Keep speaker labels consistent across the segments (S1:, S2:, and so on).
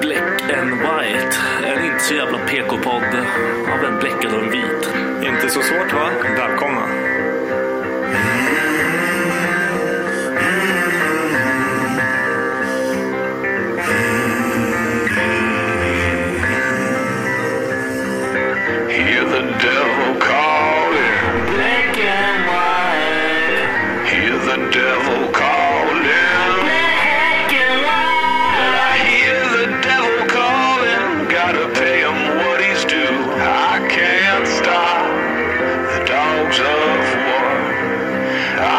S1: Black and White. En inte så jävla PK-podd av en bläckad och en vit.
S2: Inte så svårt va? Välkomna.
S3: Hear the devil calling. Black and white. Hear the devil calling. Black and white. I hear the devil calling. Gotta pay him what he's due. I can't stop the dogs of war.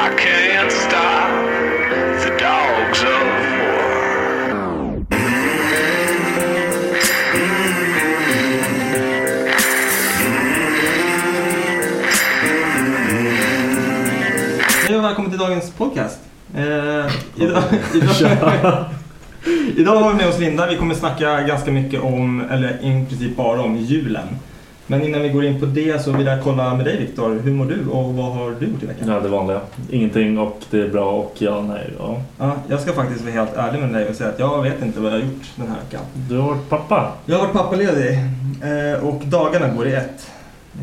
S3: I can't stop the dogs of war.
S4: Hej och välkommen till dagens podcast. Eh, idag, idag, idag har vi med oss Linda. Vi kommer snacka ganska mycket om, eller i princip bara om julen. Men innan vi går in på det så vill jag kolla med dig Viktor. Hur mår du och vad har du gjort i veckan?
S1: Ja, det vanliga. Ingenting och det är bra och ja, nej, ja.
S4: Ja, jag ska faktiskt vara helt ärlig med dig och säga att jag vet inte vad jag har gjort den här veckan.
S1: Du har varit pappa.
S4: Jag har varit pappaledig eh, och dagarna går i ett.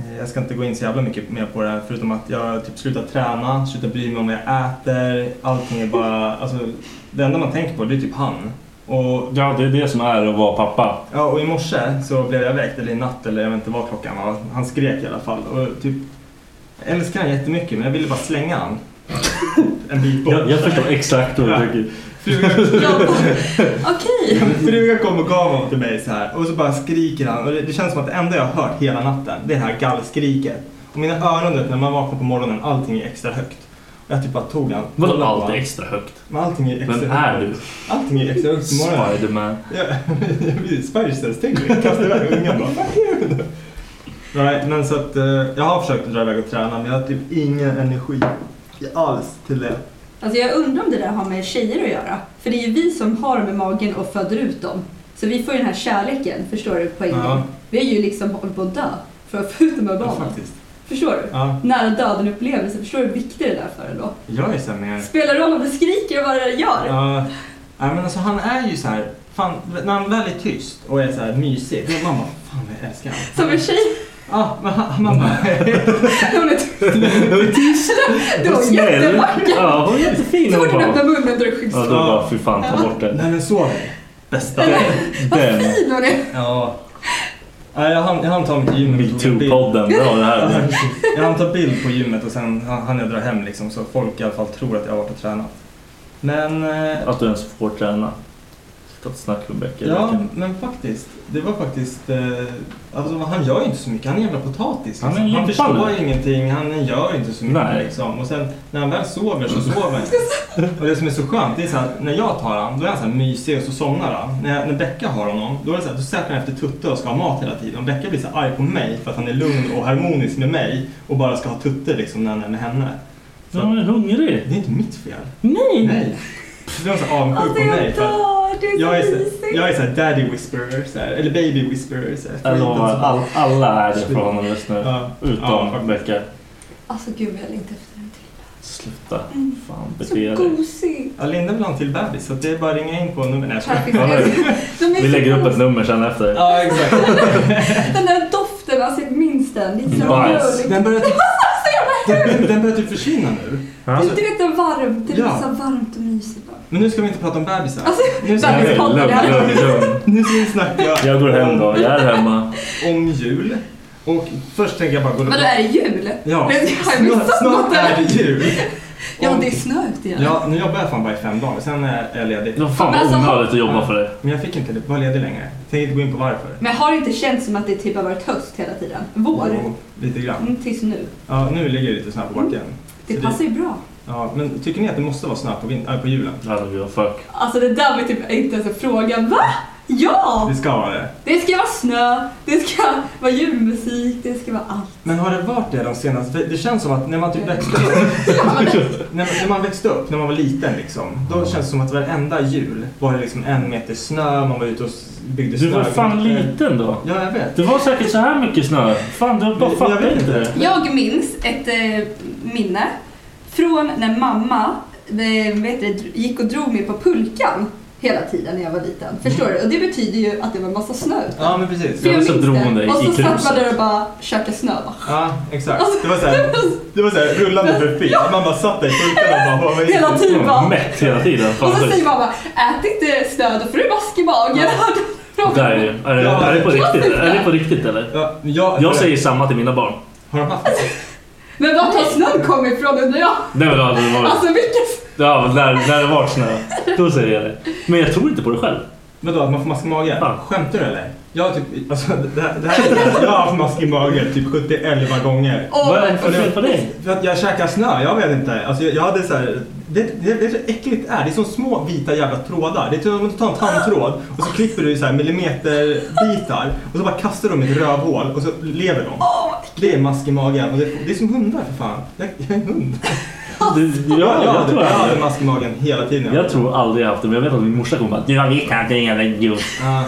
S4: Eh, Jag ska inte gå in så jävla mycket mer på det här förutom att jag har typ slutat träna, slutat bry mig om vad jag äter. Allting är bara, alltså det enda man tänker på det är typ han. Och,
S1: Ja, det är det som är att vara pappa.
S4: ja, och i morse så blev jag väckt, eller i natt eller jag vet inte vad klockan var. Han skrek i alla fall och typ jag älskar han jättemycket men jag ville bara slänga han. En bit bort.
S1: Jag, jag förstår exakt vad du
S4: Ja.
S1: tycker.
S4: Frugan-
S5: Okej.
S4: Frugan kom och gav honom till mig så här och så bara skriker han och det, det känns som att det enda jag har hört hela natten det är det här gallskriket. Och mina öron du vet, när man vaknar på morgonen allting är extra högt. Och jag typ bara tog han.
S1: Vadå allt är extra högt?
S4: Men allting är extra
S1: Vem är
S4: högt.
S1: du?
S4: Allting är extra högt på morgonen.
S1: Spiderman.
S4: Ja, precis. Spidersense, tänk dig. Kasta iväg ungen bara. "Vad gör du?" Nej, men så att eh, jag har försökt dra iväg och träna men jag har typ ingen energi alls till det.
S5: Alltså jag undrar om det där har med tjejer att göra. För det är ju vi som har dem i magen och föder ut dem. Så vi får ju den här kärleken, förstår du poängen?
S4: Ja.
S5: Vi är ju liksom hållit på att dö för att få ut de här
S4: Ja,
S5: barnen.
S4: faktiskt.
S5: Förstår du?
S4: Ja,
S5: Nära döden-upplevelse, förstår du hur viktigt det där för en då?
S4: jag är så här mer
S5: Spelar roll om du skriker och vad det gör?
S4: Ja, nej, men alltså han är ju så här, fan, när han väl är tyst och är så här mysig, då man bara, fan vad jag älskar honom.
S5: Som en tjej,
S4: Ja, men han, man bara,
S5: hon är Det var
S1: Snäll.
S5: jättevackert.
S1: Ja, hon är jättefin
S5: så
S1: hon
S5: fort hon
S1: var.
S5: öppnar munnen drar det skjuts.
S1: Ja, då bara fy fan ta bort den.
S4: nej men så är det. Bästa.
S5: Vad
S1: Den
S5: fin hon är!
S4: Ja. Nej, jag hann, jag hann ta mig till gymmet. och tog en bild.
S1: metoo-podden. Bra det
S4: Ja,
S1: här.
S4: precis. Jag hann ta bild på gymmet och sen hann hann jag dra hem liksom så folk i alla fall tror att jag har varit och tränat. Men eh,
S1: Att du ens får träna. ofta snack om Becker.
S4: Ja, men faktiskt. Det var faktiskt... Eh, alltså, han gör ju inte så mycket. Han är en jävla potatis.
S1: Han är en
S4: liksom. han
S1: limpan.
S4: förstår ingenting. Han gör inte så mycket.
S1: Nej.
S4: Liksom. Och sen när han väl sover så sover han. och det som är så skönt, det är så här, när jag tar han, då är han så här mysig och så somnar han. När, jag- när Becka har honom, då är det så här, då söker han efter Tutte och ska ha mat hela tiden. Och Becka blir så här arg på mig för att han är lugn och harmonisk med mig och bara ska ha Tutte liksom när han är med henne. Så,
S1: han är hungrig. Mm.
S4: Det är inte mitt fel.
S3: Nej!
S4: Nej. Du är så avundsjuk
S3: Alltså
S4: på mig.
S3: jag
S4: för att-
S3: dör, du är så
S4: jag är, så,
S3: mysig.
S4: jag är så här daddy whisperer, så här, eller baby whisperer. Så här,
S1: Jag lovar, all, alla är det för honom just nu.
S4: Ja.
S1: Utom
S4: Ja,
S1: ja,
S4: faktiskt.
S1: Becker.
S3: Alltså gud, jag längtar efter en till.
S1: Sluta.
S3: Mm.
S1: Fan, bete
S3: Så
S1: dig.
S3: gosig.
S4: Ja, Linda vill ha en till bebis, så det är bara att ringa in på nummer. Nej, jag skojar.
S3: Perfekt. De är
S1: Vi
S3: så
S1: lägger upp
S3: gosiga.
S1: ett nummer sen efter.
S4: Ja, exakt.
S3: Den där doften, alltså jag minns den. Det är så
S1: Bajs.
S3: gulligt.
S4: Den börjar typ,
S3: Alltså, jag var-
S4: den, den börjar typ försvinna nu.
S3: Du vet, den varmt. Det blir
S4: Ja.
S3: så varmt och mysigt. bara.
S4: Men nu ska vi inte prata om bebisar.
S3: Alltså,
S4: nu ska
S3: Nej,
S4: vi,
S3: lugn,
S1: lugn, lugn.
S4: nu ska vi snacka
S1: Jag går hem då. Jag är hemma.
S4: om jul. Och först tänker jag bara gå
S3: Vadå, är det jul?
S4: Ja,
S3: Men jag har
S4: snart,
S3: missat
S4: snart
S3: något
S4: är
S3: där.
S4: det jul.
S3: Ja, det är snö ute igen.
S4: Ja, nu jobbar jag fan bara i fem dagar, sen är jag ledig.
S1: Vad fan
S3: Men
S1: vad
S3: alltså,
S1: onödigt att jobba för dig.
S4: Men jag fick inte det, vara ledig längre. Tänker inte gå in på varför.
S6: Men har det inte känts som att det typ har varit höst hela tiden? Vår?
S4: Jo, lite grann.
S6: Mm, tills nu. Mm,
S4: Ja, nu ligger det lite snö på backen.
S6: Det
S4: Så
S6: passar ju bra.
S4: Ja, men tycker ni att det måste vara snö på, vin- äh, på julen?
S1: Herregud, fuck.
S6: Alltså det där var typ inte ens en fråga. Va? Ja!
S4: Det ska vara det.
S6: Det ska vara snö, det ska vara julmusik, det ska vara allt.
S4: Men har det varit det de senaste... Det, det känns som att när man typ växte upp... när, man, när man växte upp, när man var liten liksom.
S1: Mm.
S4: Då känns det som att varenda jul var det liksom en meter snö, man var ute och s- byggde
S1: Du
S4: snö.
S1: var fan liten då.
S4: Ja, jag vet.
S1: Det var säkert så här mycket snö. Fan, du bara
S4: Jag
S1: fattar
S4: vet
S1: inte
S4: inte.
S1: det.
S6: Jag minns ett eh, minne från när mamma eh, vet du, gick och drog mig på pulkan hela tiden när jag var liten. Förstår du? Och det betyder ju att det var en massa snö ute.
S4: Ja, men precis.
S6: För
S1: Ja,
S6: jag
S1: men så
S6: minns
S1: drog hon dig
S6: det. Och
S1: i
S6: så satt man
S1: kruset.
S6: där och bara käkade snö. Alltså, Bara.
S4: Ja, exakt. Det var såhär, det var såhär rullande profil. Man bara satt där i skylten och bara... "Vad är det?"
S6: Hela tiden.
S1: Jag var Mätt hela tiden. Fan, alltså.
S6: Och så
S1: det-
S6: säger mamma, "Äh." ät inte snö då får du mask i magen.
S1: Där är, det. är, det,
S4: Ja.
S1: är det på riktigt? Är det på riktigt eller?
S4: Ja, jag,
S1: Jag säger samma till mina barn.
S4: Har de haft det?
S6: Men vart har snön kommit ifrån undrar jag?
S1: Det har väl aldrig varit.
S6: Alltså vilken...
S1: Ja, när, när det var snö. Då säger jag det. Men jag tror inte på det själv.
S4: Vadå, att man får mask i magen?
S1: Ja.
S4: Skämtar du eller? Jag har typ, alltså det här, det här, jag har haft mask i magen typ 71 gånger.
S1: Vad är
S6: Åh,
S1: det för fel på dig?
S4: För att jag käkar snö, jag vet inte. Alltså jag, jag hade så här, det, det, det är så äckligt det är. Det är som små vita jävla trådar. Det är som om du tar en tandtråd och så klipper du i så här millimeterbitar och så bara kastar de i ett rövhål och så lever de. Det är mask i magen och det, det är som hundar för fan. Jag, jag är en hund.
S6: alltså.
S1: Du, jag, jag, tror
S4: jag hade
S1: aldrig.
S4: mask i magen hela tiden.
S1: jag tror aldrig jag haft det, men jag vet att min morsa kommer bara Du har visst haft en jävla idiot.
S4: Ja,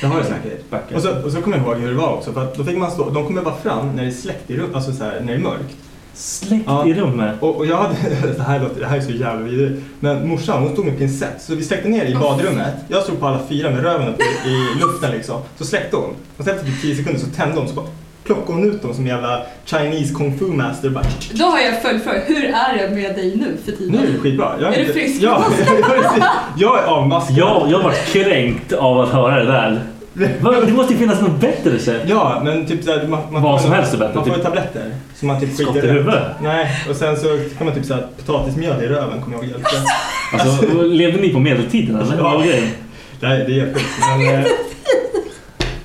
S4: det har jag säkert.
S1: Backa.
S4: Och så, och så kommer jag ihåg hur det var också. För att då fick man stå, de kommer bara fram när det är släckt i rummet, alltså så här, när det är mörkt.
S1: Släkt
S4: Ja.
S1: i rummet.
S4: Och, och jag hade, det här, låter, det här är så jävla vidrigt. Men morsan hon stod med pincett så vi släckte ner i badrummet. Jag stod på alla fyra med röven upp i, i luften liksom. Så släckte hon. Och sen efter typ 10 sekunder så tände hon så bara plockade hon ut dem som jävla Chinese kung fu master. Bara,
S6: Då har jag en följdfråga. Hur är det med dig nu för
S4: nu är
S6: tiden?
S4: det skitbra. Jag
S6: Är du
S4: inte-
S6: frisk?
S4: Ja, precis. jag är avmaskad.
S1: Jag, jag varit kränkt av att höra det där. Va, Det måste ju finnas något bättre sätt.
S4: Ja, men typ såhär, man, man,
S1: Vad
S4: får-
S1: som helst är bättre,
S4: man får
S1: typ.
S4: tabletter som man typ
S1: Skott
S4: skiter
S1: i huvudet.
S4: Nej, och sen så kan man typ såhär potatismjöl i röven kommer jag ihåg hjälpte.
S1: Alltså, levde ni på medeltiden eller? Vad var grejen?
S4: Nej, det är helt sjukt. Men, eh,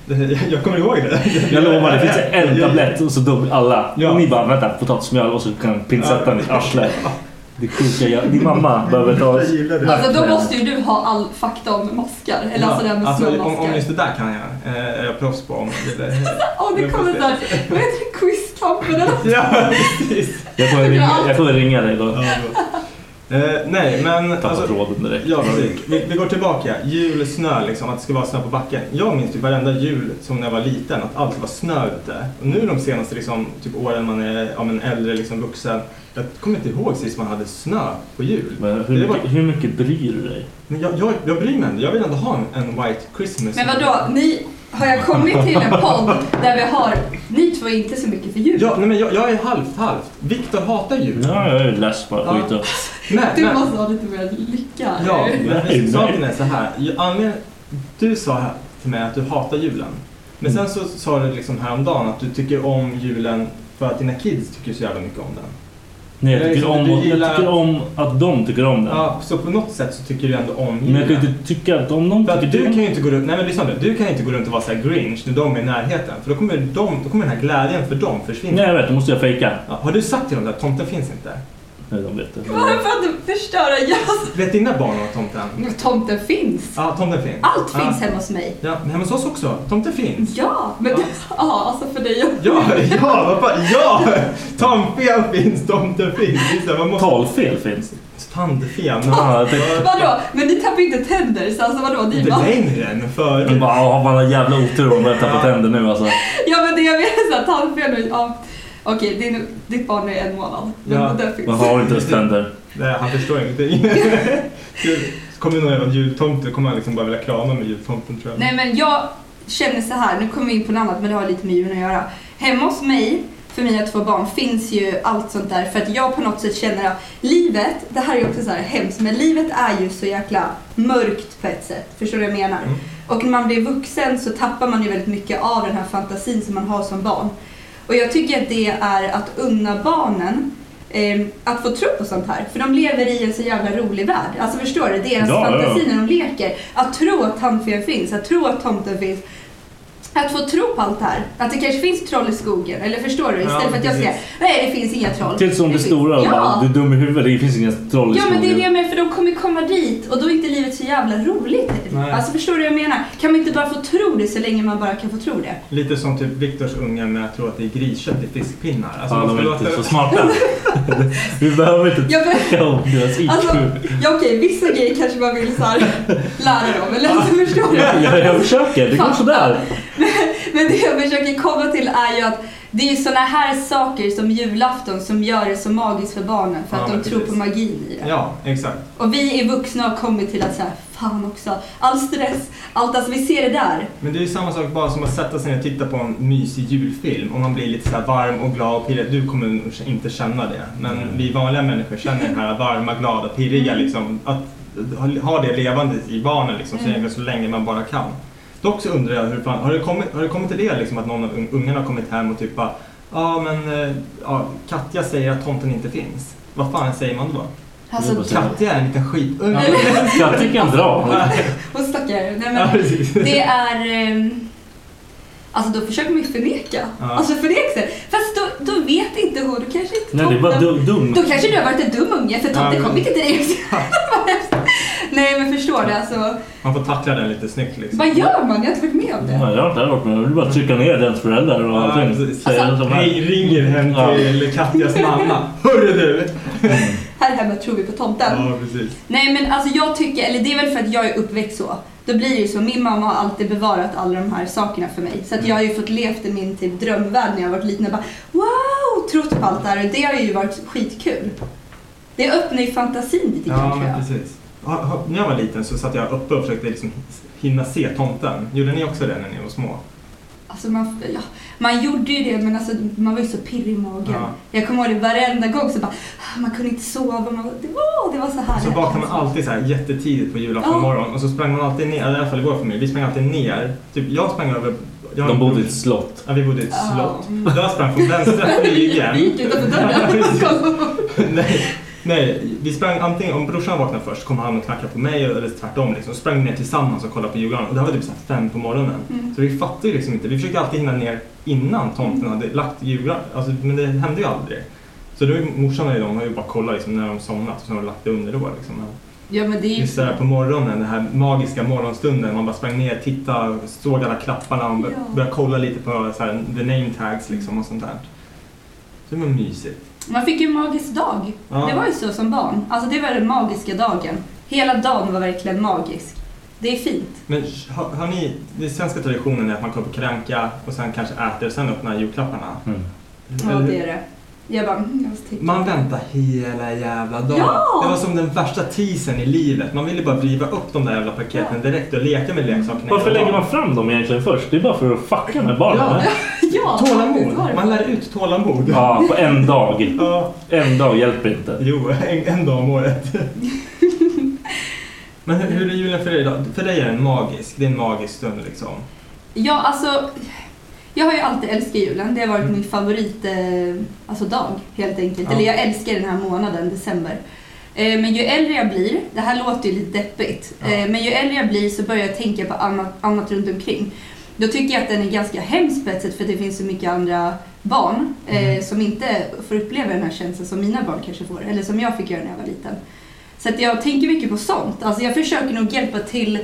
S4: det- jag kommer ihåg det.
S1: Jag lovar, det finns en tablett och så dog alla.
S4: Ja.
S1: Och ni bara vänta, potatismjöl och så kan pincetten i arslet. Det sjuka jag... Din mamma behöver ta...
S4: Jag gillar det.
S6: Alltså då måste ju du ha all fakta om maskar. Eller alltså det här med
S4: alltså, om,
S6: snömaskar.
S4: om just det där kan jag. Eh, är jag proffs på om det där.
S6: Åh, det Alltså, kommer där. Vad heter det? Quizkampen eller?
S4: Ja, precis.
S1: Jag får ringa, jag får ringa dig då.
S4: Ja, bra. eh, nej, men
S1: Tappa
S4: alltså,
S1: tråden direkt.
S4: Ja, precis. Vi, vi går tillbaka. Jul, snö, liksom, att det ska vara snö på backen. Jag minns typ varenda jul som när jag var liten, att allt var snö ute. Och nu de senaste liksom, typ, åren man är ja, men äldre, liksom, vuxen, jag kommer inte ihåg sist man hade snö på jul.
S1: Men
S4: Det
S1: hur,
S4: var-
S1: mycket, hur mycket bryr du dig?
S4: Men jag, jag, jag bryr mig inte. Jag vill ändå ha en, en white Christmas.
S6: Men vadå? Ni har jag kommit till en podd där vi har... Ni två är inte så mycket för djur.
S4: Ja, nej, men jag, jag är halvt halvt. Viktor hatar jul.
S1: Ja, jag är less på
S4: Ja.
S1: skit och...
S4: Men,
S6: Du
S4: men,
S6: måste ha lite mer lycka.
S4: Ja,
S1: Nej,
S4: men alltså, saken
S1: nej.
S4: är så här. Jag- Anledningen, du sa här till mig att du hatar julen. Men
S1: Mm.
S4: sen så sa du liksom häromdagen att du tycker om julen för att dina kids tycker så jävla mycket om den.
S1: Nej, jag
S4: Nej,
S1: tycker,
S4: liksom,
S1: om,
S4: du
S1: jag
S4: gillar-
S1: tycker om att de tycker om det.
S4: Ja, så på något sätt så tycker du ändå om
S1: Men jag kan ju inte tycka att om de
S4: För att du kan ju inte gå runt, nej men lyssna nu, du kan ju inte gå runt och vara såhär grinch när de är i närheten. För då kommer, de, då kommer den här glädjen för dem försvinna.
S1: Nej, jag vet. Då måste jag fejka.
S4: Ja, har du sagt till dem att tomten finns inte?
S1: Nej, de vet det.
S7: Varför att du förstör jazz?
S4: Vet dina barn om tomten?
S6: Tomten finns.
S4: Ja, tomten finns.
S6: Allt finns
S4: ja.
S6: hemma hos mig.
S4: Ja, men hemma hos oss också. Tomten finns.
S6: Ja, men ja. alltså för dig också.
S4: Ja, ja, vad fan, ja! Tandfen finns, tomten finns. Just det, man måste...
S1: Talfel finns.
S4: Tandfen?
S1: Ja, jag tänkte-
S6: Vadå? Men ni tappar ju inte tänder, så alltså vadå? Ni
S4: Inte
S6: bara...
S4: längre än förut.
S1: De bara, "Ja, vad jävla otur om jag tappar tänder nu alltså.
S6: Ja, men det jag menar är såhär, tandfen och... Ja. Okej, din, ditt barn är en månad. Men
S4: Ja.
S6: den finns.
S1: Man har inte ens tänder.
S4: Nej, han förstår ingenting. Så kommer någon jävla jultomte, kommer han liksom bara vilja krama med jultomten tror jag.
S6: Nej, men jag känner så här. nu kommer vi in på något annat, men det har lite med djuren att göra. Hemma hos mig, för mina två barn, finns ju allt sånt där. För att jag på något sätt känner att livet, det här är ju också så här hemskt, men livet är ju så jäkla mörkt på ett sätt. Förstår du vad jag menar? Och när man blir vuxen så tappar man ju väldigt mycket av den här fantasin som man har som barn. Och jag tycker att det är att unna barnen eh, att få tro på sånt här. För de lever i en så jävla rolig värld. Alltså förstår du? Deras
S7: Ja, ja, ja.
S6: fantasi när de leker. Att tro att tandfen finns, att tro att tomten finns. Att få tro på allt det här. Att det kanske finns troll i skogen. Eller förstår du? Istället
S1: Ja,
S6: för att jag säger
S1: precis.
S6: nej det finns inga troll.
S1: Tills de blir
S6: finns-
S1: stora och
S6: ja.
S1: bara, du är dum i huvudet, det finns inga troll i
S6: Ja men det är det
S1: skogen.
S6: jag menar, för de kommer komma dit och då är inte livet så jävla roligt.
S4: Nej.
S6: Alltså förstår du vad jag menar? Kan man inte bara få tro det så länge man bara kan få tro det?
S4: Lite som typ Viktors unga med att tro att det är griskött i fiskpinnar. Alltså,
S1: Ja,
S4: man
S1: de
S4: ska
S1: är inte
S4: låta-
S1: så smarta. Vi behöver inte
S6: Jag be-
S1: tänka om deras IQ.
S6: Alltså, ja, okej, vissa grejer kanske man vill så här, lära dem, eller alltså, förstår du?
S1: Jag, jag, jag försöker, det går
S6: Fan.
S1: sådär.
S6: Men det jag försöker komma till är ju att det är ju såna här saker som julafton som gör det så magiskt för barnen för
S4: Ja,
S6: att de
S4: men
S6: tror på
S4: precis.
S6: magin i det.
S4: Ja, exakt.
S6: Och vi är vuxna och har kommit till att säga fan också, all stress, allt alltså vi ser det där.
S4: Men det är ju samma sak bara som att sätta sig ner och titta på en mysig julfilm och man blir lite så här varm och glad och pirrig. Du kommer nog inte känna det, men vi vanliga människor känner den här varma, glada, pirriga
S6: Mm.
S4: liksom. Att ha- ha det levande i barnen liksom, så,
S1: Mm.
S4: länge, så länge man bara kan. Dock så undrar jag, hur fan, har, det kommit, har det kommit till det liksom, att någon av un- ungarna har kommit hem och typ bara Ja men eh, ja, Katja säger att tomten inte finns. Vad fan säger man då?
S6: Alltså,
S4: Katja är en liten skitunge.
S6: Ja, Katja
S1: kan dra.
S6: Och stackare. Nej,
S4: Ja,
S6: men,
S4: precis.
S6: det är... ehm, Alltså då försöker man ju förneka.
S1: Ja.
S6: Alltså förneka sig. Fast då, då vet inte hon, då kanske inte
S1: Nej, det är bara
S6: tomten-
S1: dum- dum.
S6: Då kanske du har varit en dum unge för tomten
S4: Ja, men-
S6: kom inte till dig. Nej men förstår du alltså.
S4: Man får tackla den lite snyggt liksom.
S6: Vad gör man? Jag har inte varit med om det.
S1: Nej, jag har inte varit med. Jag vill bara trycka ner deras föräldrar och allting. Säga det
S6: Alltså,
S1: som
S4: Alltså, Hej,
S1: är.
S4: ringer hem
S1: Ja.
S4: till Katjas mamma. Hörru du!
S6: Här hemma tror vi på tomten.
S4: Ja, precis.
S6: Nej men alltså jag tycker, eller det är väl för att jag är uppväxt så. Då blir det ju så. Min mamma har alltid bevarat alla de här sakerna för mig. Så att jag har ju fått levt i min typ drömvärld när jag varit liten. Jag bara wow, trott på allt det här och det har ju varit skitkul. Det öppnar ju fantasin lite grann
S4: Ja,
S6: tror
S4: men
S6: jag.
S4: precis. Ha- ha- När jag var liten så satt jag uppe och försökte liksom hinna se tomten. Gjorde ni också det när ni var små?
S6: Alltså man, ja, man gjorde ju det men alltså man var ju så pirrig i magen.
S4: Ja.
S6: Jag kommer ihåg det varenda gång så bara, ah, man kunde inte sova. Man, bara, det, var, det var så härligt. alltså.
S4: Så vaknade man alltid så här jättetidigt på julafton
S6: Ja.
S4: morgon och så sprang man alltid ner, eller i alla fall i vår familj, vi sprang alltid ner. Typ jag sprang över... Jag
S1: De bodde i ett slott.
S4: Ja, vi bodde i ett
S6: Ja.
S4: slott. Jag sprang från vänstra flygeln.
S6: Vi gick utanför
S4: Ja,
S6: dörren.
S4: precis. Nej, nej, vi sprang antingen, om brorsan vaknade först kom han och knackade på mig eller tvärtom liksom. Så sprang vi ner tillsammans och kollade på julgranen och det här var typ så här fem på morgonen.
S1: Mm.
S4: Så vi fattade ju liksom inte, vi försökte alltid hinna ner innan
S6: Mm.
S4: tomten hade lagt julgranen. Alltså, men det hände ju aldrig. Så då, morsan och de har ju bara kollat liksom, när de somnat och sen har de lagt det under då liksom. Men
S6: Ja men det är ju
S4: Just det här på morgonen, den här magiska morgonstunden. Man bara sprang ner, tittade, såg alla klapparna och
S6: Ja.
S4: började kolla lite på så här, the name tags liksom och sånt där. Så det var mysigt.
S6: Man fick ju en magisk dag.
S4: Ja.
S6: Det var ju så som barn. Alltså det var den magiska dagen. Hela dagen var verkligen magisk. Det är fint.
S4: Men har, har ni, den svenska traditionen är att man kommer på kranka och sen kanske äter och sen öppnar julklapparna.
S1: Mm.
S6: Ja,
S4: Eller-
S6: det är det. Jag bara, mm, jag måste titta.
S4: Man väntar hela jävla dagen.
S6: Ja!
S4: Det var som den värsta teasern i livet. Man ville bara driva upp de där jävla paketen direkt och leka med leksakerna.
S1: Varför
S4: hela
S1: lägger
S4: dagen.
S1: man fram dem egentligen först? Det är bara för att fucka med barnen.
S4: Ja.
S1: eller?
S6: Ja,
S4: Tålamod! Man lär ut tålamod.
S1: Ja, på en dag.
S4: Ja.
S1: En dag hjälper inte.
S4: Jo, en, en dag om året. Men hur, hur är julen för dig då? För dig är den magisk. Det är en magisk stund liksom.
S6: Ja, alltså.
S4: Jag har ju alltid älskat julen. Det har varit min favorit, eh, alltså dag helt enkelt.
S1: Ja.
S4: Eller jag älskar den här månaden, december. Eh, Men ju äldre jag blir, det här låter ju lite deppigt, eh, men ju äldre jag blir så börjar jag tänka på annat, annat runt omkring. Då tycker jag att den är ganska hemsk på ett sätt för det finns så mycket andra barn eh, som inte får uppleva den här känslan som mina barn kanske får, eller som jag fick göra när jag var liten. Så att jag tänker mycket på sånt. Alltså jag försöker nog hjälpa till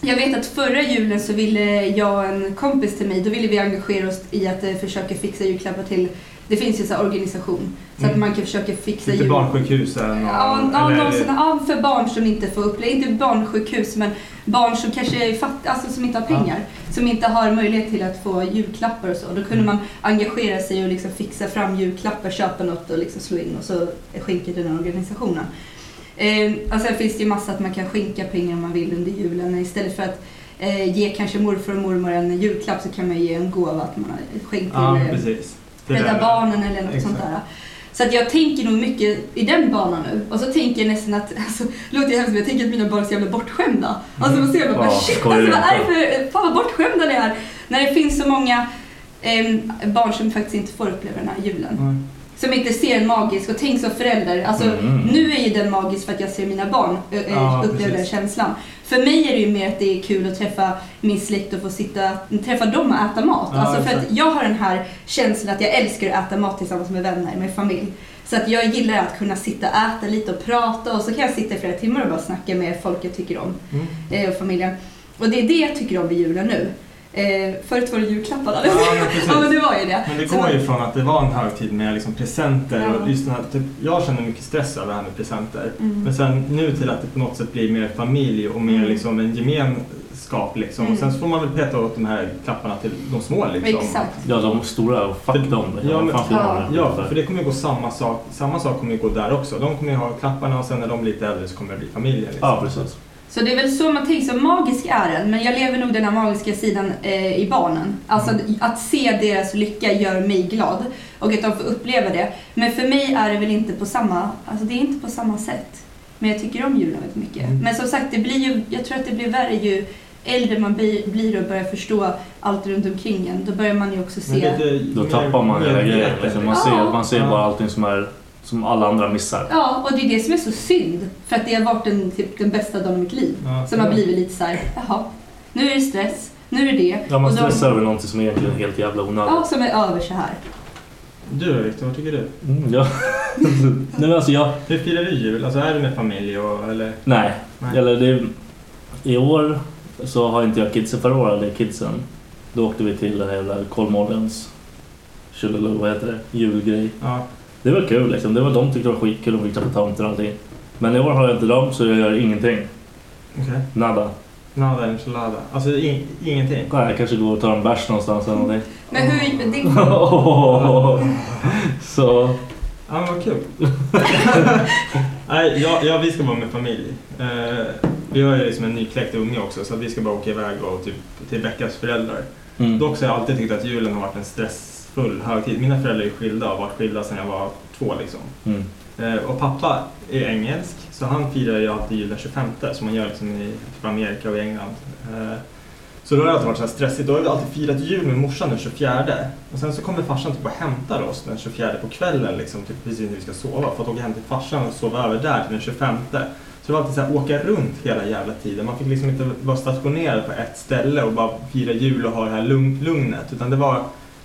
S4: jag vet att förra julen så ville jag och en kompis till mig, då ville vi engagera oss i att eh, försöka fixa julklappar till, det finns ju så här organisation, så att
S1: Mm.
S4: man kan försöka fixa
S1: Lite
S4: jul.
S1: barnsjukhusen och...
S4: Ja, ja,
S1: eller-
S4: någon sån- ja, för barn som inte får uppleva, inte barnsjukhus men barn som kanske är fatt, alltså som inte har pengar. Som inte har möjlighet till att få julklappar och så. Då
S1: Mm.
S4: kunde man engagera sig och liksom fixa fram julklappar, köpa något och liksom slå in och så skänka till den organisationen. Eh, och sen finns det ju massa att man kan skänka pengar om man vill under julen. Istället för att eh, ge kanske morfar och mormor en julklapp så kan man ge en gåva att man har skänkt till
S1: Ja,
S4: eh,
S1: precis. Det
S4: Rädda
S1: där-
S4: Barnen eller något
S1: Exakt.
S4: sånt där. Så att jag tänker nog mycket i den banan nu. Och så tänker jag nästan att, alltså, låter jag hemskt men jag tänker att mina barn är så jävla bortskämda. Alltså man ser jag bara
S8: Mm. Ja,
S4: shit
S8: skojar
S4: alltså, vad
S8: inte.
S4: är det för, fan vad bortskämda ni är. När det finns så många em, barn som faktiskt inte får uppleva den här julen. Som inte ser en magisk och tänk som förälder. Alltså
S8: Mm.
S4: nu är ju den magisk för att jag ser mina barn ö, ö,
S8: Ja,
S4: uppleva den
S8: precis.
S4: känslan. För mig är det ju mer att det är kul att träffa min släkt och få sitta, träffa dem och äta mat.
S8: Ja,
S4: alltså för
S8: exakt.
S4: att jag har den här känslan att jag älskar att äta mat tillsammans med vänner, med familj. Så att jag gillar att kunna sitta och äta lite och prata och så kan jag sitta i flera timmar och bara snacka med folk jag tycker om
S1: Mm.
S4: eh, och familjen. Och det är det jag tycker om vid julen nu. Eh, förut var det julklappar
S1: Ja,
S4: alldeles.
S1: men precis.
S4: ja men det var ju det.
S1: Men det
S4: Så
S1: går
S4: man-
S1: ju från att det var en högtid med liksom presenter
S4: Ja.
S1: och just den här, typ, jag känner mycket stress över det här med presenter.
S4: Mm.
S1: Men sen nu till att det på något sätt blir mer familj och mer liksom en gemenskap liksom.
S4: Mm.
S1: Och sen så får man väl peta åt de här klapparna till de små liksom.
S4: Exakt.
S3: Ja, de stora. Fuck dem.
S1: Ja, men,
S3: Fan,
S1: ja.
S3: fan.
S1: för det kommer ju gå samma sak. Samma sak kommer ju gå där också. De kommer ju ha klapparna och sen när de blir lite äldre så kommer det bli familjer. Liksom.
S3: Ja, precis.
S4: Så det är väl så man tänker, så magisk är den, men jag lever nog den här magiska sidan eh, i barnen. Alltså
S3: Mm.
S4: att, att se deras lycka gör mig glad och att de får uppleva det. Men för mig är det väl inte på samma, alltså det är inte på samma sätt. Men jag tycker om julen väldigt mycket.
S8: Mm.
S4: Men som sagt, det blir ju, jag tror att det blir värre ju äldre man bli- blir och börjar förstå allt runt omkring en. Då börjar man ju också
S1: Men
S4: se...
S1: det- det-
S3: Då
S1: mer-
S3: tappar man
S1: mer
S3: hela grejen.
S1: medvetet.
S3: Liksom. Man,
S4: Mm. Ja.
S3: ser, man ser bara allting som, är, som alla andra missar.
S4: Ja, och det är det som är så synd. För att det har varit den, typ, den bästa dagen i mitt liv.
S3: Ja.
S4: Som har blivit lite så här, jaha, nu är det stress, nu är det det.
S3: Ja, man
S4: Och då-
S3: stressar över någonting som egentligen är helt jävla onödigt.
S4: Ja, som är över så här.
S1: Du då Viktor, vad tycker du?
S3: Mm, ja. Nej, men alltså jag...
S1: Hur firar du jul? Alltså är det med familj och eller?
S3: Nej,
S1: Nej.
S3: eller det, i år så har inte jag kidsen. Förra året hade jag kidsen. Då åkte vi till den här jävla Kolmårdens tjolilu, vad heter det, julgrej.
S1: Ja.
S3: Det var kul liksom. Det var, de tyckte det var skitkul. De fick träffa tomten och allting. Men i år har jag inte dem så jag gör ingenting.
S1: Okej.
S3: Nada.
S1: Nada enchilada. Alltså in, ingenting?
S3: Nej, jag kanske går och tar en bärs någonstans eller någonting.
S4: Men hur... Din,
S3: så...
S1: Ja men vad kul. Nej, ja, ja, vi ska vara med familj. Eh, vi har ju liksom en nykläckt unge också så att vi ska bara åka iväg och typ, till Beckas föräldrar.
S3: Mm.
S1: Dock så har jag alltid tyckt att julen har varit en stressfull högtid. Mina föräldrar är skilda och har varit skilda sedan jag var två liksom.
S3: Mm.
S1: Eh, och pappa är engelsk så han firar ju alltid julen 25 som man gör liksom i typ Amerika och i England. Eh, så då har det alltid varit så här stressigt. Då har vi alltid firat jul med morsan den 24. Och sen så kommer farsan typ och hämtar oss den 24 på kvällen liksom, typ precis när vi ska sova. För att åka hem till farsan och sova över där till den 25. Så det var alltid så här, åka runt hela jävla tiden. Man fick liksom inte vara stationerad på ett ställe och bara fira jul och ha det här lugn, lugnet. Utan det var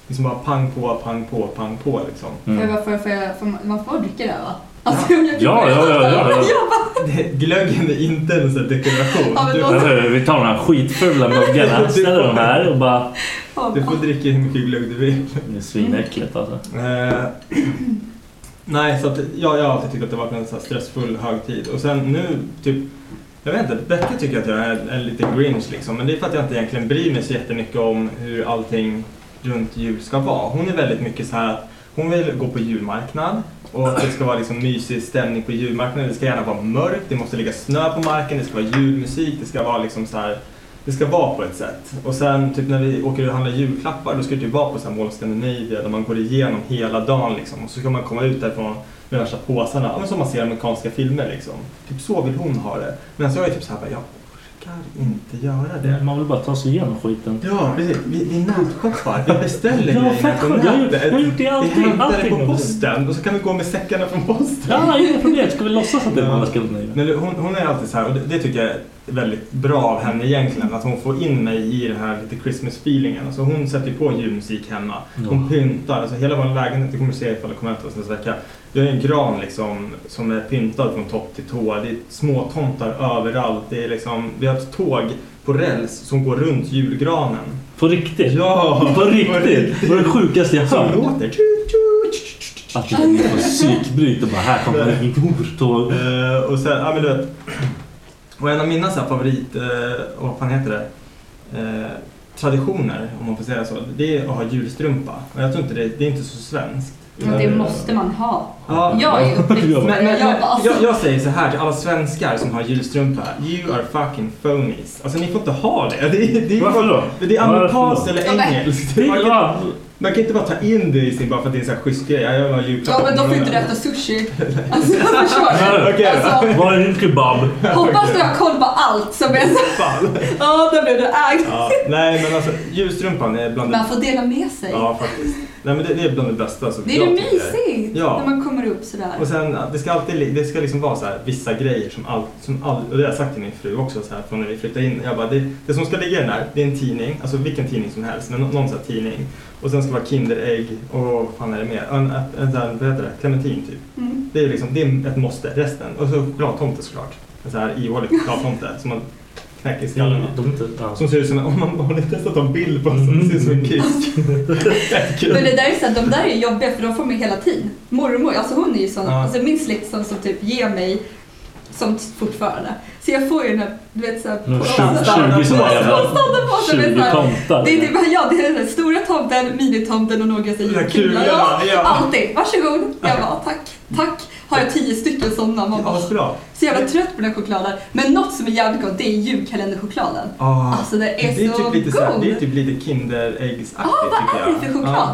S1: liksom bara pang på, pang på, pang på liksom.
S4: för, för, för, för, man får dricka det här, va? Alltså, jag tycker-
S3: Ja, ja, ja, ja, ja.
S1: Det- Glöggen är inte ens en dekoration.
S4: Ja, men
S1: Du-
S4: då-
S3: Nej, nej, eh, Vi tar de här skitfula muggarna, ställer dem här och bara...
S1: Du får dricka hur mycket glögg du vill.
S3: Det är svinäckligt alltså.
S1: Eh, nej, så att, ja, jag har alltid tyckt att det har varit en så här stressfull högtid. Och sen nu, typ, jag vet inte, Becka tycker att jag är en, en liten grinch liksom. Men det är för att jag inte egentligen bryr mig så jättemycket om hur allting runt jul ska vara. Hon är väldigt mycket så här att hon vill gå på julmarknad och att det ska vara liksom mysig stämning på julmarknaden. Det ska gärna vara mörkt, det måste ligga snö på marken, det ska vara julmusik, det ska vara liksom så här det ska vara på ett sätt. Och sen typ när vi åker och handlar julklappar då ska det typ vara på så här Mall of Scandinavia där man går igenom hela dagen liksom. Och så ska man komma ut därifrån med värsta påsarna. Ja, men som man ser i amerikanska filmer liksom. Typ så vill hon ha det. Men så är jag typ så här bara, jag orkar orkar inte göra det.
S3: Man vill bara ta sig igenom skiten.
S1: Ja, precis. Vi, vi nätshoppar. Vi beställer
S3: Ja,
S1: grejerna
S3: fett sjukt. Jag har gjort- jag har gjort det i allting,
S1: Vi hämtar
S3: allting.
S1: det på posten och så kan vi gå med säckarna från posten.
S3: Ja, inga problem. Ska vi låtsas att det är någon annan skuld?
S1: Men du, hon, hon är alltid så här, och det, det tycker jag är väldigt bra av henne egentligen, att hon får in mig i den här lite Christmas-feelingen. Alltså hon sätter ju på julmusik hemma. Hon
S3: Ja.
S1: pyntar, alltså hela vår lägenhet, det kommer du se ifall du kommer äta oss nästa vecka. Vi har en gran liksom som är pyntad från topp till tå. Det är små tomtar överallt. Det är liksom, vi har ett tåg på räls som går runt julgranen.
S3: På riktigt?
S1: Ja!
S3: På riktigt? Det var det sjukaste jag
S1: Som
S3: hört.
S1: låter.
S3: Att jag är på psykbryt och bara här kommer det en hortåg.
S1: Eh, och sen, ja men du vet. Och en av mina så här, favorit, eh, vad fan heter det, eh, traditioner om man får säga så. Det är att ha julstrumpa. Och jag tror inte det, det är inte så svenskt.
S4: Men det måste man ha.
S1: Ja.
S4: Jag är uppväxt med
S1: men, men,
S4: det. Jag
S1: jag,
S4: bara, alltså,
S1: jag, jag säger så här till alla svenskar som har julstrumpa. You are fucking phonies. Alltså ni får inte ha det. det, är, det är,
S3: Varför då?
S1: Det är amerikanskt
S3: Varför då?
S1: eller
S3: Ja, men-
S1: engelskt. Man kan, man kan inte bara ta in det i sin bara för att det är en sån här schysst grej. Jag var julklapp.
S4: Ja men då får inte du äta sushi. Alltså jag förstår det. Alltså,
S3: Var är din kebab?
S4: hoppas du har koll på allt som är så. Ja, där blev du ägd.
S1: Ja, nej men alltså julstrumpan är bland
S4: Man får dela med sig.
S1: Ja faktiskt. Nej men det, det är bland det bästa som
S4: Det är
S1: jag
S4: ju
S1: tycker.
S4: mysigt
S1: Ja.
S4: när man kommer upp sådär.
S1: Och sen, det ska alltid li- det ska liksom vara så här, vissa grejer som all, som all, och det har jag sagt till min fru också så här, från när vi flyttade in. Jag bara, det, det som ska ligga i den där, det är en tidning, alltså vilken tidning som helst, men nå- någon sån här tidning. Och sen ska det vara Kinderägg och vad fan är det mer? En, en, en sån här, vad heter det? Clementin typ.
S4: Mm.
S1: Det är liksom, det är ett måste, resten. Och så chokladtomte såklart. En sån här ihålig chokladtomte som man knäcker i skallen av. Som ser ut som, om man har ni testat en bild på en sån, det ser ut som en kusk. Fett kul.
S4: Men det där är så här, de där är jobbiga för de får mig hela tiden. Mormor, alltså hon är ju sån,
S1: Ja.
S4: alltså min släkt som, som typ ger mig sånt fortfarande. Så jag får ju den här, du vet såhär...
S3: Nu har 20 20 såna jävla- 20 tomtar.
S4: Det är typ, ja det är den stora tomten, minitomten och några så
S1: här kulorna,
S4: här kulor. Ja,
S1: ja.
S4: alltid. Varsågod. Jag bara, tack, tack. Har jag tio stycken sådana? Man bara,
S1: Asbra.
S4: så jävla trött på den här chokladen. Men något som är jävligt gott, det är julkalenderchokladen.
S1: Ah,
S4: Alltså den är,
S1: det är
S4: så
S1: typ lite
S4: god.
S1: så här, Det är typ lite Kinderäggsaktigt
S4: Ah, vad är det för choklad?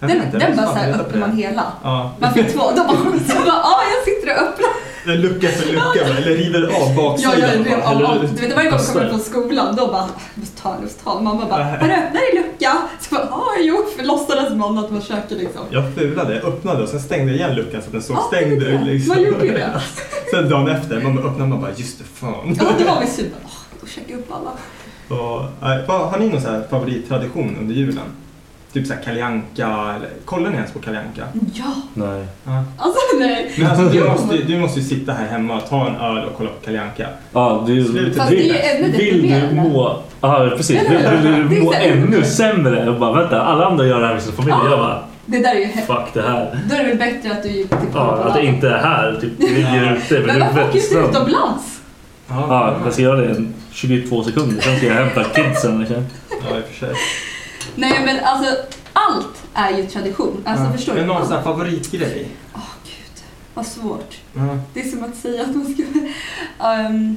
S1: jag
S4: Den,
S1: vet inte, jag
S4: den
S1: vet
S4: bara
S1: fan,
S4: såhär
S1: jag vet
S4: öppnar man
S1: inte.
S4: hela.
S1: Ja.
S4: Man fick två, de bara så bara, ja jag sitter och öppnar.
S1: Den lucka för lucka, eller river av
S4: Ja,
S1: baksidan.
S4: jag rev av
S1: Eller-
S4: allt. Du vet varje gång jag
S1: Alltså.
S4: kommer från skolan, då bara, måste ta, måste ta. Mamma bara, har du öppnat din lucka? Så bara, ja jo, för låtsades man att man försöker liksom.
S1: Jag fulade, öppnade och sen stängde jag igen luckan så att den såg stängd ut. Liksom.
S4: Man Ah, gjorde ju det.
S1: Sen dagen efter, man öppnade man bara just det, fan.
S4: Ja, det var vi super. Åh, då käkade jag upp alla.
S1: Och, eh, vad- har ni någon så här favorittradition under julen? Typ såhär Kalle Anka, eller kollar ni ens på Kalle Anka?
S4: Ja,
S3: Nej.
S1: Ja.
S4: alltså nej.
S1: Men alltså, du,
S4: Jo.
S1: måste, ju- du måste ju sitta här hemma och ta en öl och kolla på Kalle Anka.
S3: Ja, det är,
S1: Fast
S3: vill,
S1: det är
S4: ju ännu
S3: vill du
S4: deprimerande.
S3: må... Ja, precis. Vill, vill
S4: Det
S3: du
S4: är
S3: må
S4: så här-
S3: ännu sämre? Jag bara, vänta, alla andra gör det här med sin familj. Jag bara,
S4: Det där är ju hemskt.
S3: fuck det här.
S4: Då är det väl bättre att du gick till
S3: Ja, att det
S4: Kolmården.
S3: inte är här. Typ ligger ute med
S4: Men varför
S3: huvudet i
S4: åker du inte
S3: snön.
S4: utomlands?
S3: Ja, jag ska göra det i 22 sekunder. Sen ska jag hämta kidsen. Liksom.
S1: Ja, i och för sig.
S4: Alltså, Nej men alltså, allt är ju tradition. Alltså
S1: Ja.
S4: förstår
S1: Men
S4: du?
S1: någon sån här favoritgrej?
S4: Vad svårt.
S1: Ja.
S4: Det är som att säga att man ska... Ehm,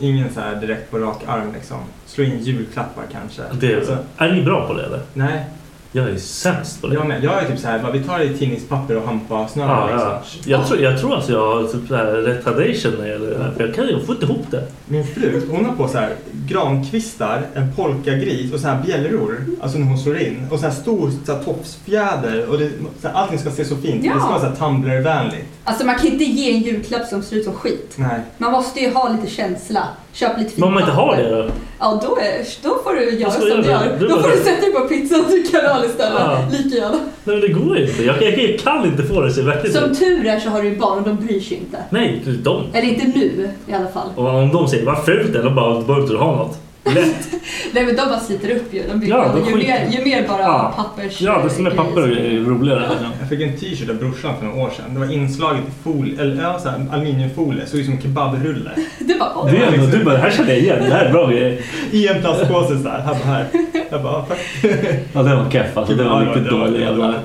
S1: Ingen så här direkt på rak arm liksom. Slå in julklappar kanske.
S3: Det
S1: Alltså,
S3: är, är ni bra på det eller?
S1: nej,
S3: Jag är sämst på det.
S1: jag med. Jag är typ så här, bara, vi tar i tidningspapper och hampasnöre
S3: Ja,
S1: liksom.
S3: ja. Jag, tror, jag tror alltså jag har typ så här retardation när det gäller det här. För jag, kan, jag får inte ihop det.
S1: Min fru, hon har på så här grankvistar, en polkagris och så här bjällror. Alltså när hon slår in. Och så här stor så här, tofsfjäder. Och det, så här, allting ska se så fint ut. Det ska
S4: Ja.
S1: vara så här tumblervänligt.
S4: alltså man kan inte ge en julklapp som ser ut som skit.
S1: Nej.
S4: Man måste ju ha lite känsla. Köp lite
S3: Men om man inte har det då?
S4: Ja, då, är, då får du göra
S3: Vad ska
S4: som
S3: jag
S4: du
S3: göra?
S4: gör.
S3: Du
S4: Då
S3: bara-
S4: får du sätta dig på pizza och dricka öl istället.
S3: Ja.
S4: Lika gärna.
S3: Nej men det går ju inte. Jag, jag, jag kan inte få det så verkligen
S4: Som
S3: ut.
S4: tur är så har du ju barn och de bryr sig inte.
S3: Nej, det är de.
S4: Eller inte nu i alla fall.
S3: Och om de säger vad fult det är, då bara, behöver inte du ha något. Lätt.
S4: Nej men de bara sliter upp ju. De blir,
S3: Ja, de
S4: ju,
S3: skiter.
S4: mer, ju mer bara
S3: Ja.
S4: pappers...
S3: Ja, det som är papper är roligare. liksom.
S1: Jag fick en t-shirt av brorsan för några år sedan. Det var inslaget i folie, eller ja, så här, aluminiumfolie. Såg ut som kebabrulle. Liksom
S4: Du bara,
S3: Det
S4: oj.
S3: är ändå, du bara, det här känner jag igen. Det här är bra grejer.
S1: I en plastpåse så här. Han bara, här. Jag bara, "Ah, tack.
S3: Ja, det var keff alltså. Det var
S1: Ja,
S3: riktigt
S1: det var-
S3: dålig
S1: det var
S3: jävla...
S1: dåligt.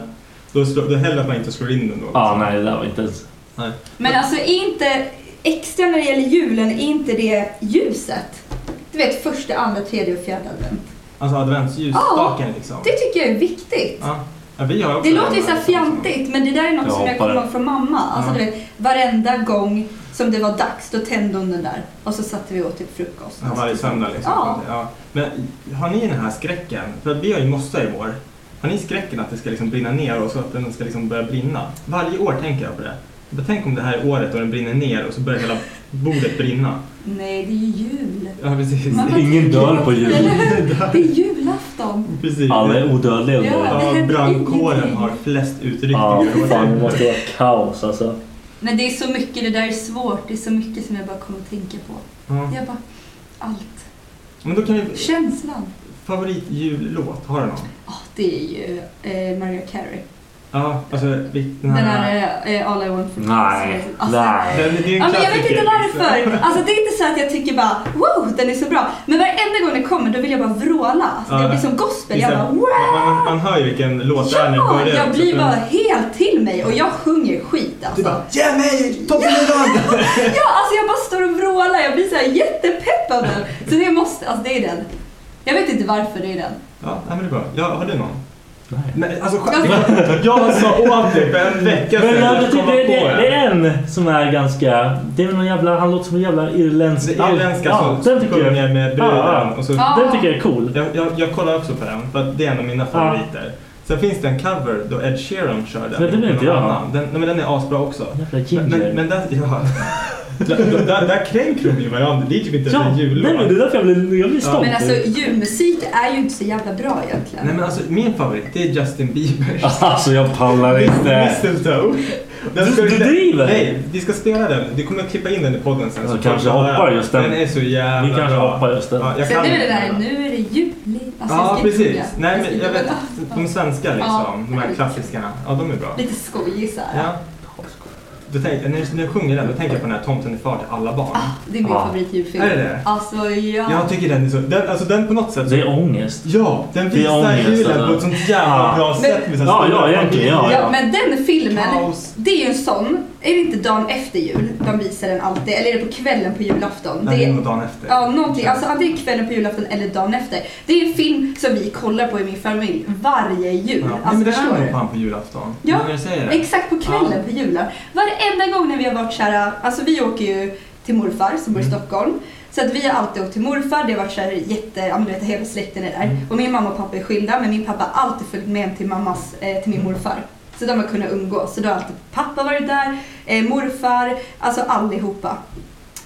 S1: Då, slår, då hellre att man inte slår in den då. liksom.
S3: Ja, nej, det där var inte ens...
S1: Nej.
S4: Men alltså är inte, extra när det gäller julen, är inte det ljuset? Du vet första, andra, tredje och fjärde advent.
S1: Alltså adventsljusstaken
S4: Ja,
S1: liksom.
S4: Det tycker jag är viktigt.
S1: Ja. Ja, vi har också
S4: Det låter ju
S1: den
S4: så här
S1: här liksom.
S4: fjantigt men det där är något
S3: Jag
S4: som jag
S3: hoppar
S4: kommer
S3: det.
S4: ihåg från mamma. Alltså
S1: Ja.
S4: du vet, varenda gång som det var dags, då tände hon den där och så satte vi åt till frukost.
S1: Ja, varje söndag liksom.
S4: Ja.
S1: Ja. Men har ni den här skräcken? För att vi har ju mossa i vår. Har ni skräcken att det ska liksom brinna ner och så att den ska liksom börja brinna? Varje år tänker jag på det. Jag bara, tänk om det här är året och den brinner ner och så börjar hela bordet brinna.
S4: Nej, det är ju jul.
S1: Ja, precis.
S4: Mamma,
S3: Ingen dör på jul.
S4: Det är julafton.
S1: Precis.
S3: Alla är odödliga under.
S4: Ja, det händer
S1: brandkåren
S4: ingenting.
S1: har flest utryckningar.
S3: Ja, fan det måste vara kaos alltså.
S4: Men det är så mycket, det där är svårt. Det är så mycket som jag bara kommer att tänka på.
S1: Ja.
S4: Jag bara, allt.
S1: Men då kan vi...
S4: Känslan.
S1: Favoritjullåt, har du någon?
S4: Det är ju eh, Maria Carey.
S1: Ja, alltså vi-
S4: Den här eh, All I Want For
S1: Nej,
S4: Alltså,
S1: Den- Det är ju en
S4: Ja, men jag vet
S1: klassiker,
S4: inte varför.
S1: liksom.
S4: Alltså, det är inte så att jag tycker bara wow, den är så bra. Men varenda gång den kommer då vill jag bara vråla. Alltså, det
S1: Ja.
S4: blir som gospel. Jag
S1: Just
S4: bara
S1: det.
S4: wow.
S1: man, man, man hör ju vilken låt det är när det
S4: Ja,
S1: börjar.
S4: jag blir
S1: Så-
S4: bara helt till mig och jag sjunger skit alltså.
S1: Du bara, ge mig toppen
S4: Ja, alltså jag bara står och vrålar. Jag blir så här jättepepp av den. Så det måste, alltså det är den. Jag vet inte varför det är den.
S1: Ja, nej, men det är bra. Ja, har du någon? Nej. Alltså,
S3: Jag-
S1: jag sa åt dig för en vecka sedan.
S3: Men jag tycker
S1: kom
S3: det,
S1: på
S3: det, det
S1: den.
S3: är en som är ganska... Det är väl någon jävla... Han låter som en jävla irländsk...
S1: Det irländska
S3: ja,
S1: som
S3: den tycker jag.
S1: sjunger med bruden.
S3: Ja,
S1: och så,
S3: ja. Den tycker jag är cool.
S1: Jag, jag, jag kollar också på den, för att det är en av mina favoriter. Sen finns det en cover då Ed Sheeran kör den.
S3: Men det vet inte jag.
S1: Den, den, nej, men den är asbra också.
S3: ginger.
S1: Men, men, men där, ja. där, där, där kränker de ju varandra. Det är typ inte ens
S3: Ja,
S1: en jullåt.
S3: nej, men det är därför jag blir, jag blir
S1: Ja.
S3: stolt.
S4: Men alltså julmusik är ju inte så jävla bra egentligen.
S1: Nej men alltså min favorit det är Justin Bieber.
S3: Alltså jag pallar inte.
S1: Mistletoe. Den
S3: Du-
S1: ska vi
S3: du
S1: spela-
S3: driver?
S1: Nej, vi ska spela den. Du kommer att klippa in den i podden sen.
S3: Jag
S1: så
S3: Alltså, kanske
S1: får du höra.
S3: hoppar just den.
S1: Den är så jävla
S3: Vi kanske
S1: bra.
S3: hoppar just den.
S1: Ja, jag
S4: Sen
S1: kan
S4: är det
S1: den.
S4: där, nu är det juli. Alltså, jag
S1: Ja,
S4: ska
S1: precis.
S4: sjunga.
S1: Nej,
S4: Jag
S1: men
S4: ska
S1: jag vet.
S4: sjunga.
S1: De svenska liksom.
S4: Ja.
S1: De här klassiskarna. Ja, de är bra.
S4: Lite skojisar.
S1: Ja. Då tänker, när, jag- när jag sjunger den, då tänker jag på den här Tomten är far till alla barn.
S4: Det är min
S1: Ja.
S4: favoritjulfilm.
S1: Är det det?
S4: Alltså Ah, ja.
S1: Jag tycker den är så... Den, alltså den på något sätt...
S3: Det är ångest.
S1: Ja, den
S3: Det är
S1: visar
S3: ångest,
S1: julen på
S3: alltså.
S1: ett sånt jävla
S3: Ja.
S1: bra
S3: Men-
S1: sätt. Med så här
S3: Ja,
S1: stora
S3: ja, egentligen, ja,
S1: familjer.
S4: Ja, men den filmen,
S1: Kaos.
S4: det är ju en sån. Är det inte dagen efter jul de visar den alltid? Eller är det på kvällen på julafton?
S1: Nej, det är nog dagen efter.
S4: Ja, någonting. Alltså antingen kvällen på julafton eller dagen efter. Det är en film som vi kollar på i min familj varje jul.
S1: Ja,
S4: Alltså,
S1: men det är
S4: förstår
S1: nog
S4: du?
S1: fan på julafton.
S4: Ja,
S1: när jag säger det.
S4: Exakt på kvällen på julen. Varenda gång när vi har varit såhär, alltså vi åker ju till morfar som bor
S1: Mm.
S4: i Stockholm. Så att vi har alltid åkt till morfar, det har varit såhär jätte, ja men du vet hela släkten är där.
S1: Mm.
S4: Och min mamma och pappa är skilda men min pappa har alltid följt med hem till mammas, eh, till min
S1: Mm.
S4: morfar. Så de har kunnat umgås. Så då har alltid pappa varit där, eh, morfar, alltså allihopa.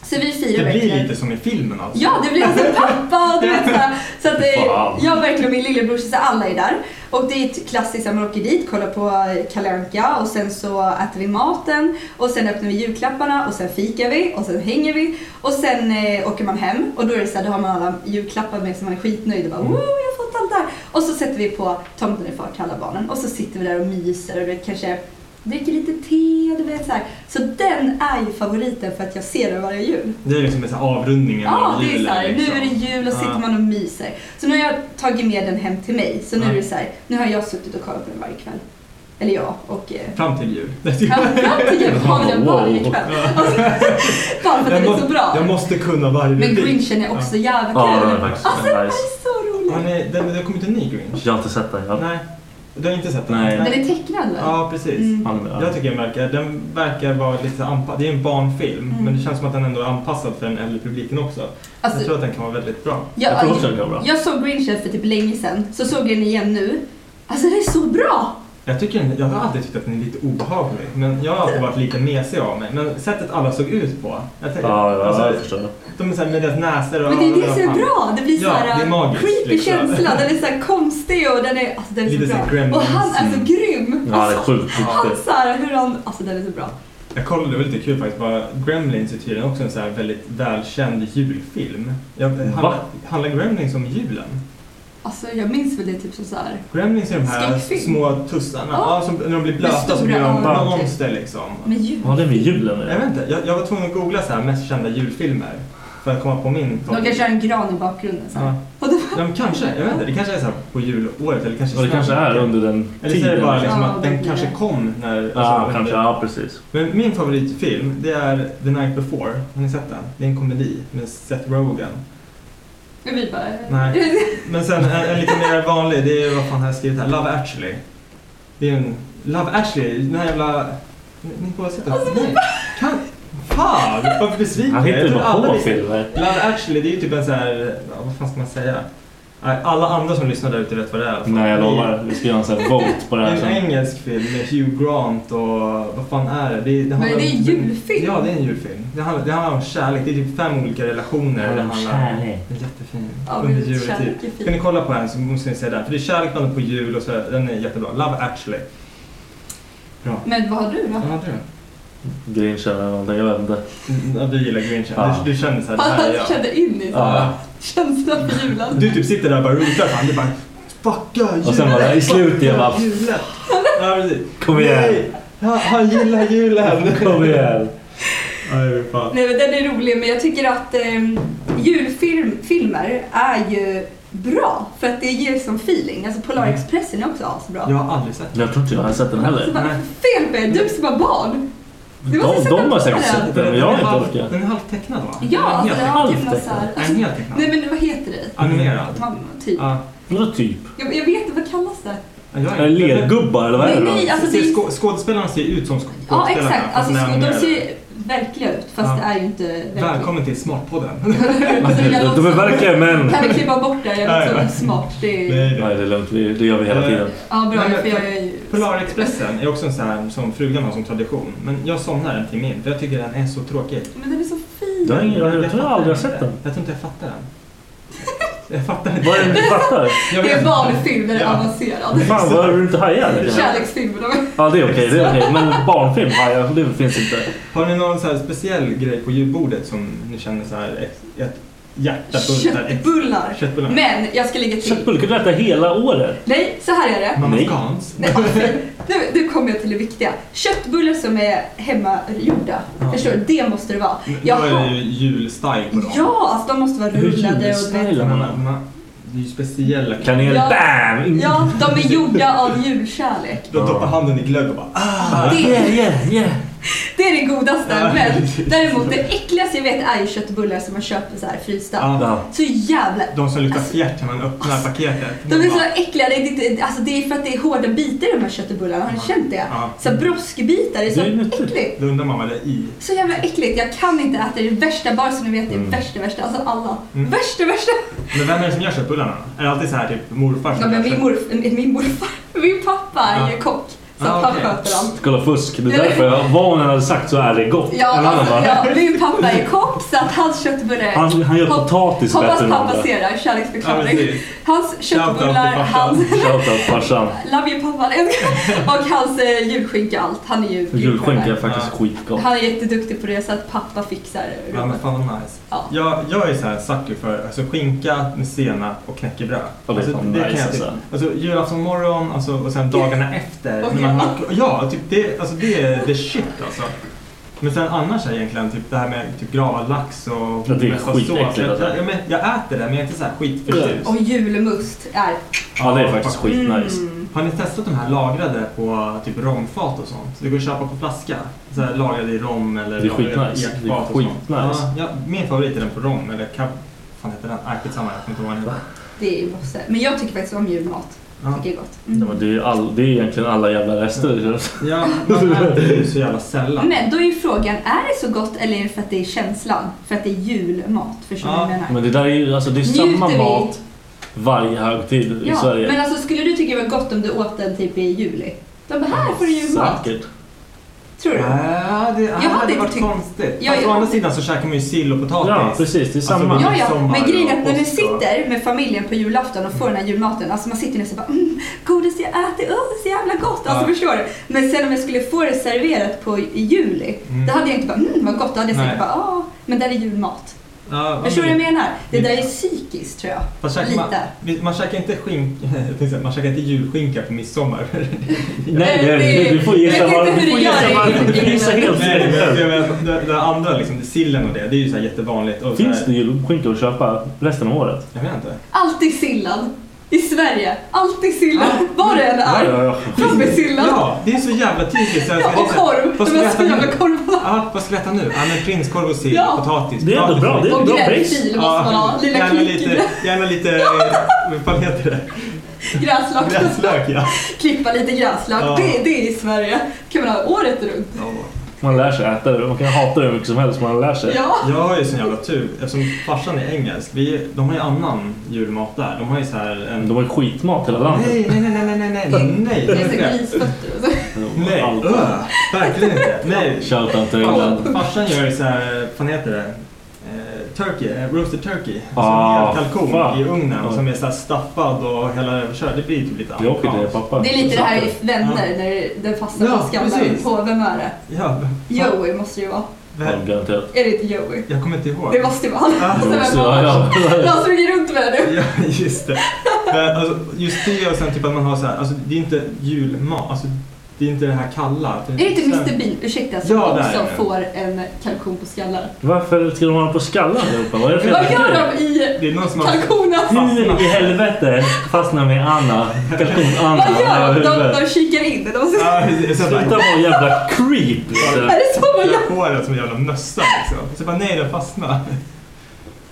S4: Så vi firar
S1: Det blir
S4: verkligen-
S1: lite som i filmen alltså.
S4: Ja, det blir alltså pappa och du vet såhär. Så att
S1: Fan.
S4: eh, jag verkligen och min lillebror, så alla är där. Och det är ett klassiskt, att man åker dit, kollar på eh, Kalle Anka och sen så äter vi maten och sen öppnar vi julklapparna och sen fikar vi och sen hänger vi och sen eh, åker man hem och då är det så här, då har man alla julklappar med sig, man är skitnöjd och bara
S1: Mm.
S4: wow, jag har fått allt det här. Och så sätter vi på Tomten är far till alla barnen och så sitter vi där och myser och du vet, kanske dricker lite te, du vet så här. Så den är ju favoriten för att jag ser den varje jul.
S1: Det är liksom en sån här avrundning
S4: Ja,
S1: av
S4: det är
S1: julen.
S4: så här,
S1: liksom.
S4: nu är det jul och
S1: Ja.
S4: sitter man och myser. Så nu har jag tagit med den hem till mig. Så nu
S1: Ja.
S4: är det så här, nu har jag suttit och kollat på den varje kväll. Eller jag och... eh,
S1: Fram till jul.
S4: Ja, fram till jul har vi den varje
S1: Wow.
S4: kväll. Och så- Bara för att den är så bra.
S1: Jag måste kunna varje
S4: Men
S1: replik.
S4: Grinchen är också jävligt
S3: Ja,
S4: kul.
S3: den är faktiskt
S4: Alltså den är
S3: nice.
S4: så rolig.
S1: Ja, nej, det, det har kommit en ny Grinch.
S3: Jag har inte sett den. Jag...
S1: Nej, du har inte sett den?
S3: Nej.
S4: Den är tecknad väl?
S1: Ja, precis.
S3: Mm.
S1: Jag tycker den verkar, den verkar vara lite anpassad. Det är en barnfilm,
S4: Mm.
S1: men det känns som att den ändå är anpassad för den äldre publiken också.
S4: Alltså-
S1: jag tror att den kan vara väldigt bra.
S4: Jag, jag såg Grinchen för typ länge sedan, så såg jag den igen nu. Alltså den är så bra!
S1: Jag, tycker, den- jag har alltid tyckt att den är lite obehaglig, men jag har alltid varit lite mesig av mig. Men sättet alla såg ut på. Jag tänker,
S3: Ja, ja,
S1: alltså,
S3: jag förstår.
S1: De är såhär med deras näsor och
S4: Men det är det
S1: öron
S4: som är
S1: och-
S4: bra. Det blir
S1: ja,
S4: så här
S1: det är magiskt,
S4: creepy
S1: liksom.
S4: känsla. Den är så här konstig och den är, alltså, den är
S1: Lite
S4: så
S1: så
S4: bra.
S1: här Gremlins. Mm.
S4: och han är så grym. Alltså,
S1: Ja, det är sjukt
S4: Han
S1: riktigt.
S4: så här, hur han, alltså den är så bra.
S1: Jag kollade, det var lite kul faktiskt, bara Gremlins är tydligen också en så här väldigt välkänd julfilm. Jag,
S3: Va?
S1: handlar, handlar Gremlins om julen?
S4: Alltså jag minns väl det typ som så här.
S1: Gremlins är de här
S4: Skräckfilm.
S1: små tussarna,
S4: Ja.
S1: ja, som, när de blir
S4: Med
S1: blöta så
S4: stora
S1: blir de
S4: öron.
S1: monster liksom.
S4: Men jul.
S3: Vad har det med julen att
S1: Jag
S3: göra?
S1: vet inte, jag, jag var tvungen att googla så här mest kända julfilmer för att komma på min
S4: De kanske har en gran i bakgrunden. Så här.
S1: Ja. Ja, men kanske, jag vet inte, det kanske är så här på julåret eller kanske
S3: Och det kanske är under den
S1: Eller så är det
S3: tiden.
S1: bara liksom
S3: Ja,
S1: att
S3: det
S1: den
S3: blir
S1: kanske
S3: det.
S1: kom när... alltså,
S3: Ja, kanske. Ja, precis.
S1: Men min favoritfilm, det är The Night Before. Har ni sett den? Det är en komedi med Seth Rogen.
S4: Och vi bara...
S1: Nej. Men sen en, en lite mer vanlig, det är vad fan har jag skrivit här? Love actually.
S3: Alltså,
S1: Det är en... Love actually, den här jävla... Ni, ni har sett den? Nej. Kan... Fan, varför besviken?
S3: Han hittar ju
S1: Jag tror
S3: bara på
S1: alla lyssnar-
S3: filmer.
S1: Love actually, det är ju typ en så här, ja, vad fan ska man säga? Nej, Alla andra som lyssnar där ute vet vad det är. i alla fall.
S3: Nej, jag lovar. Vi ska göra en sån här vote på det här
S1: En
S3: sen.
S1: engelsk film med Hugh Grant och vad fan är det? det, det
S4: Men
S1: handlar-
S4: det är en julfilm.
S1: Ja, det är en julfilm. Det handlar, det handlar om kärlek. Det är typ fem olika relationer.
S3: Det handlar om kärlek.
S1: Det är jättefin.
S4: Ja,
S1: Under typ.
S4: men
S1: juletid.
S4: kärlek är fint.
S1: Ska ni kolla på den så måste ni se den. För det är kärlek blandat på jul och så. Den är jättebra. Love actually. Bra.
S4: Men vad har du då?
S1: Vad hade du?
S3: Grinchen eller någonting, jag vet inte.
S1: Mm, Ja, Du gillar Grinchen.
S3: Ja.
S1: Du, du känner såhär, det här är
S4: Han
S1: jag.
S4: kände in i så här,
S1: Ja.
S4: känslan för julen.
S1: Du typ sitter där och bara rotar fan. Du bara fucka julen.
S3: Och sen bara, i slutet, jag bara,
S1: fucka julen. Ja, precis.
S3: Kom igen.
S1: Nej, han- Han gillar julen.
S3: Kom igen.
S1: Nej, fan.
S4: Nej, men den är rolig, men jag tycker att eh, julfilmer är ju bra för att det ger som feeling. Alltså Polarexpressen är också asbra.
S1: Jag har aldrig sett
S3: Jag tror inte jag har sett den
S4: Så
S3: heller.
S4: bara, fel på er, du som var barn.
S3: De,
S4: Du måste sätta
S3: de har
S4: på
S3: säkert
S4: den.
S3: sett den, men jag har inte orkat.
S1: Den är halvtecknad va?
S4: Ja, alltså
S1: Den
S4: det
S1: är
S4: har
S1: halvtecknad.
S4: typ någon så här...
S1: Den är heltecknad.
S4: Nej men vad heter det?
S1: Animerad.
S4: Man, typ.
S1: Ja.
S3: Vadå typ?
S4: Jag, jag vet inte, vad kallas det?
S1: Ja, jag är-
S3: Är det Lergubbar eller vad är det
S4: Nej,
S3: då?
S4: nej. alltså
S1: Ser
S4: det är-
S1: skå- Skådespelarna ser ut som skådespelarna.
S4: Ja exakt,
S1: fast
S4: alltså,
S1: de är
S4: sko- de
S1: animerade.
S4: ser ju verkliga ut fast
S1: Ja.
S4: det är ju inte verkliga. alltså-
S1: Välkommen till Smartpodden.
S3: De- De är verkliga män.
S4: Kan vi klippa bort det? Jag
S1: Nej,
S4: är
S1: nej.
S4: inte så smart. Det är...
S1: Nej,
S3: Nej, det är lugnt. Vi- Det gör vi hela
S1: Eh,
S3: tiden.
S4: Ja bra,
S1: Nej, men-
S4: för jag är ju...
S1: Polarexpressen är också en sån här som frugan har som tradition. Men jag somnar en timme in för jag tycker den är så tråkig.
S4: Men den är så fin.
S3: Jag, har ingen, jag, jag tror jag aldrig har sett den.
S1: Jag tror inte jag fattar den. Jag fattar inte.
S3: Vad är det du fattar?
S1: Jag
S4: Det
S1: vet
S4: är
S1: inte.
S4: barnfilm, den är
S1: Ja.
S4: avancerad.
S3: Fan, vad du inte hajar? eller?
S4: Kärleksfilmer, de är...
S3: Ja, det är okej. det är okej. Men barnfilm hajar, det finns inte.
S1: Har ni någon så här speciell grej på julbordet som ni känner så här ett, ett hjärta bultar? ett-
S4: Köttbullar.
S1: Köttbullar.
S4: Men jag ska lägga till.
S3: Köttbullar kan du äta hela året.
S4: Nej, så här är det.
S1: Mamma
S3: Nej.
S1: Scans?
S4: Nej, vad fint. nu, nu kommer jag till det viktiga. Köttbullar som är hemmagjorda.
S1: Ja.
S4: Förstår du? Det måste det vara.
S1: Nu
S4: Jag
S1: är
S4: har-
S1: det ju julstyle på dem.
S4: Ja, alltså de måste vara
S3: Hur
S4: rullade och...
S3: julstylar
S1: Men,
S3: man?
S1: man- man- det är ju speciella
S3: Kanel,
S4: Ja.
S3: bam!
S4: Ja, de är gjorda av julkärlek.
S1: De doppar handen i glögg och bara ah!
S4: Det,
S3: Yeah, yeah, yeah.
S4: det är det godaste. Men däremot det äckligaste jag vet är ju köttbullar som man köper så här frysta.
S1: Ja.
S4: Så jävla...
S1: De som luktar fjärt när man öppnar paketet.
S4: De är
S1: bara,
S4: så äckliga. Det är, inte- alltså det är för att det är hårda bitar i de här köttbullarna. Har ni känt det?
S1: Ja.
S4: Så här broskbitar. Det är så
S3: Det är nyttigt.
S4: äckligt.
S1: Då undrar man vad det är i.
S4: Så jävla äckligt. Jag kan inte äta det. Det är värsta, bara så ni vet. Det
S3: Mm.
S4: är värsta, värsta. Alltså alla.
S1: Mm.
S4: Värsta, värsta.
S1: Men vem är det som gör köttbullarna? då? Är det alltid så här typ morfar som
S4: Ja,
S1: gör
S4: men min,
S1: kött-
S4: morf, min morfar, min pappa är ju
S1: Ja.
S4: kock. Så
S1: Ja,
S4: att han
S1: okej.
S4: sköter allt.
S3: Kolla fusk. Det är därför jag, vad hon än hade sagt så är det gott.
S4: Ja,
S3: en annan
S4: alltså,
S3: bara,
S4: ja, min pappa är kock så att hans köttbullar...
S3: Han- han gör potatis
S4: Hoppas
S3: bättre än
S4: pappa
S3: andra.
S4: ser det här, kärleksförklaring.
S1: Ja, precis.
S4: hans
S1: Shoutout till
S4: köttbullar,
S1: pappan.
S4: hans...
S3: Shoutout farsan.
S4: Love you pappa. Och hans eh, julskinka, allt. Han är ju
S3: Julskinka är
S4: julskinka.
S3: faktiskt
S1: Ja.
S3: skitgott.
S4: Han är jätteduktig på det så att pappa fixar
S1: Ja men
S4: rummet.
S1: fan vad nice.
S4: Ja.
S1: Jag, jag är så här sucker för alltså, skinka med senap och knäckebröd.
S3: Ja, det är fan nice,
S1: kan jag
S3: alltså.
S1: typ, alltså julafton morgon alltså, och sen dagarna efter. när man har, ja, typ det, alltså, det är the shit alltså. Men sen annars är egentgen typ det här med typ gravad lax och
S3: det är
S1: massa sås.
S3: skitäckligt,
S1: Jag,
S3: alltså.
S1: jag, jag, men, jag äter det men jag är inte så här skitförtjust.
S4: Och julmust är...
S3: Ja, det är faktiskt skitnice.
S4: Mm.
S1: Har ni testat de här lagrade på typ romfat och sånt? Det går att köpa på flaska. Så här, lagrade i rom eller
S3: Det är
S1: lagrade i
S3: skitnice.
S1: ekfat
S3: Det är
S1: och sånt.
S3: skitnice.
S1: Ja, ja, min favorit är den på rom, eller kab... fan heter den? Nej, skitsamma. Jag kommer inte ihåg vad den heter.
S4: Det är ju måste. Men jag tycker faktiskt om julmat.
S1: Ja.
S4: Tycker det är gott.
S3: Ja, men Det är, ju all, det är egentligen alla jävla
S4: Mm.
S3: rester.
S1: Ja, man äter ju så jävla sällan.
S4: Men då är ju frågan, är det så gott eller är det för att det är känslan? För att det är julmat, förstår du
S1: Ja,
S4: vad jag menar?
S3: Men det där är ju alltså, det är
S4: Njuter
S3: samma
S4: vi?
S3: mat varje högtid i
S4: Ja,
S3: Sverige.
S4: men alltså skulle du tycka det var gott om du åt den typ i juli? De bara, här får du julmat.
S3: Säkert.
S4: Tror du?
S1: Ja, Äh, det,
S4: hade
S1: det hade
S4: inte
S1: varit
S4: tyckt-
S1: konstigt.
S4: Ja,
S1: Fast
S4: ja.
S1: å andra sidan så käkar man ju sill och potatis.
S3: Ja, precis. Det är samma.
S1: Alltså,
S4: Ja, ja,
S1: midsommar
S4: men grejen är att när
S1: och
S4: ni
S1: påsk och-
S4: sitter med familjen på julafton och får den här julmaten, alltså man sitter nästan bara mm, godis jag äter, oh, så jävla gott, alltså
S1: Ja.
S4: förstår du? Men sen om jag skulle få det serverat på i juli,
S1: Mm.
S4: då hade jag inte bara mm, vad gott, då hade jag säkert
S1: Nej.
S4: bara ah, men där är julmat.
S1: Ja,
S4: Förstår du
S1: men-
S4: vad jag menar? Det där är
S1: Lite.
S4: psykiskt tror jag.
S1: Fast käkar man,
S4: Lite.
S1: vi- man käkar inte skink, jag tänkte säga, man käkar inte julskinka på midsommar.
S3: Nej,
S4: det-
S3: det- du får gissa
S4: jag vet
S3: vad
S4: inte
S3: du
S4: hur
S3: får
S4: du gör
S3: gissa
S4: det.
S3: vad- du får gissa helt
S1: Nej, men,
S3: fel.
S1: jag menar, det, det andra, liksom, sillen och det, det är ju så här jättevanligt. Och så
S3: Finns det
S1: här,
S3: julskinka att köpa resten av året?
S1: Jag vet inte.
S4: Alltid sillad. I Sverige. Alltid sillad. Var det än
S3: Ja,
S4: är.
S3: ja, ja.
S4: Fram med sillad.
S1: Ja, det är så jävla typiskt svenska.
S4: Ja, och korv.
S1: Vad
S4: De
S1: ska vi
S4: här
S1: äta nu?
S4: spiakorvarna.
S1: Ja, vad ska vi äta nu? Ja, men prinskorv och sill,
S4: Ja.
S1: potatis.
S3: Det är ändå
S1: potatis.
S3: bra, det är
S4: Och
S3: bra
S4: gräddfil
S3: base.
S4: måste man ha. Lilla
S1: gärna lite,
S4: klick.
S1: gärna lite, eh, vad fan heter det?
S4: Gräslök.
S1: Gräslök ja.
S4: Klippa lite gräslök.
S1: Ja.
S4: Det, det är i Sverige. kan man ha året runt.
S1: Ja.
S3: Man lär sig äta det. Man kan hata det hur mycket som helst, man lär sig.
S4: Ja.
S1: Jag har ju sån jävla tur eftersom farsan är engelsk. Vi, de har ju annan julmat där. De har ju så här en...
S3: De har ju skitmat hela landet.
S1: Nej, nej, nej, nej, nej, nej, nej, nej.
S4: Det är så grisfötter och så.
S1: Nej, öh, verkligen inte. Nej.
S3: Shoutout till
S1: Ja,
S3: England.
S1: Farsan gör ju så här, vad fan heter det? Eh, Turkey, eh, roasted turkey. Alltså
S3: Ah,
S1: en hel kalkon
S3: fan.
S1: i ugnen
S3: Ja.
S1: som är så här stappad och hela det köret. Det blir typ lite
S3: Jag åker till
S1: amerikanskt.
S3: pappa.
S4: Det är lite det här i Vänner,
S1: Ja.
S4: när det fastnar
S1: Ja,
S4: på skallen
S1: precis.
S4: på, vem är det?
S1: Ja,
S4: Joey måste det ju vara.
S3: Ja,
S1: väl,
S3: Garanterat.
S4: Är det inte Joey?
S1: jag kommer inte ihåg.
S4: Det måste ju vara
S1: Ja.
S4: han. Som är
S3: Så, ja, ja.
S4: Han som gick runt med det.
S1: Ja, just det. Men, alltså, just det och sen typ att man har så här, alltså det är inte julmat, alltså det är inte det här kalla.
S4: Är det inte Mr Bean, ursäkta, som
S1: Ja, där är
S4: också
S1: det.
S4: får en kalkon på skallar?
S3: Varför ska de ha på skallen allihopa? Vad är det för
S4: Vad
S3: jävla grej?
S4: gör de i
S1: Det är någon som har...
S4: kalkonen?
S3: In i helvete fastnar med Anna. Kalkon-Anna.
S4: Vad gör de? De,
S3: över
S4: de kikar in. De måste...
S1: Ja, precis. Jag
S3: Sluta
S1: bara,
S3: vara en jävla creep.
S4: Är det så man gör?
S1: jag får det som en jävla mössa liksom. Så jag bara, nej den fastnar.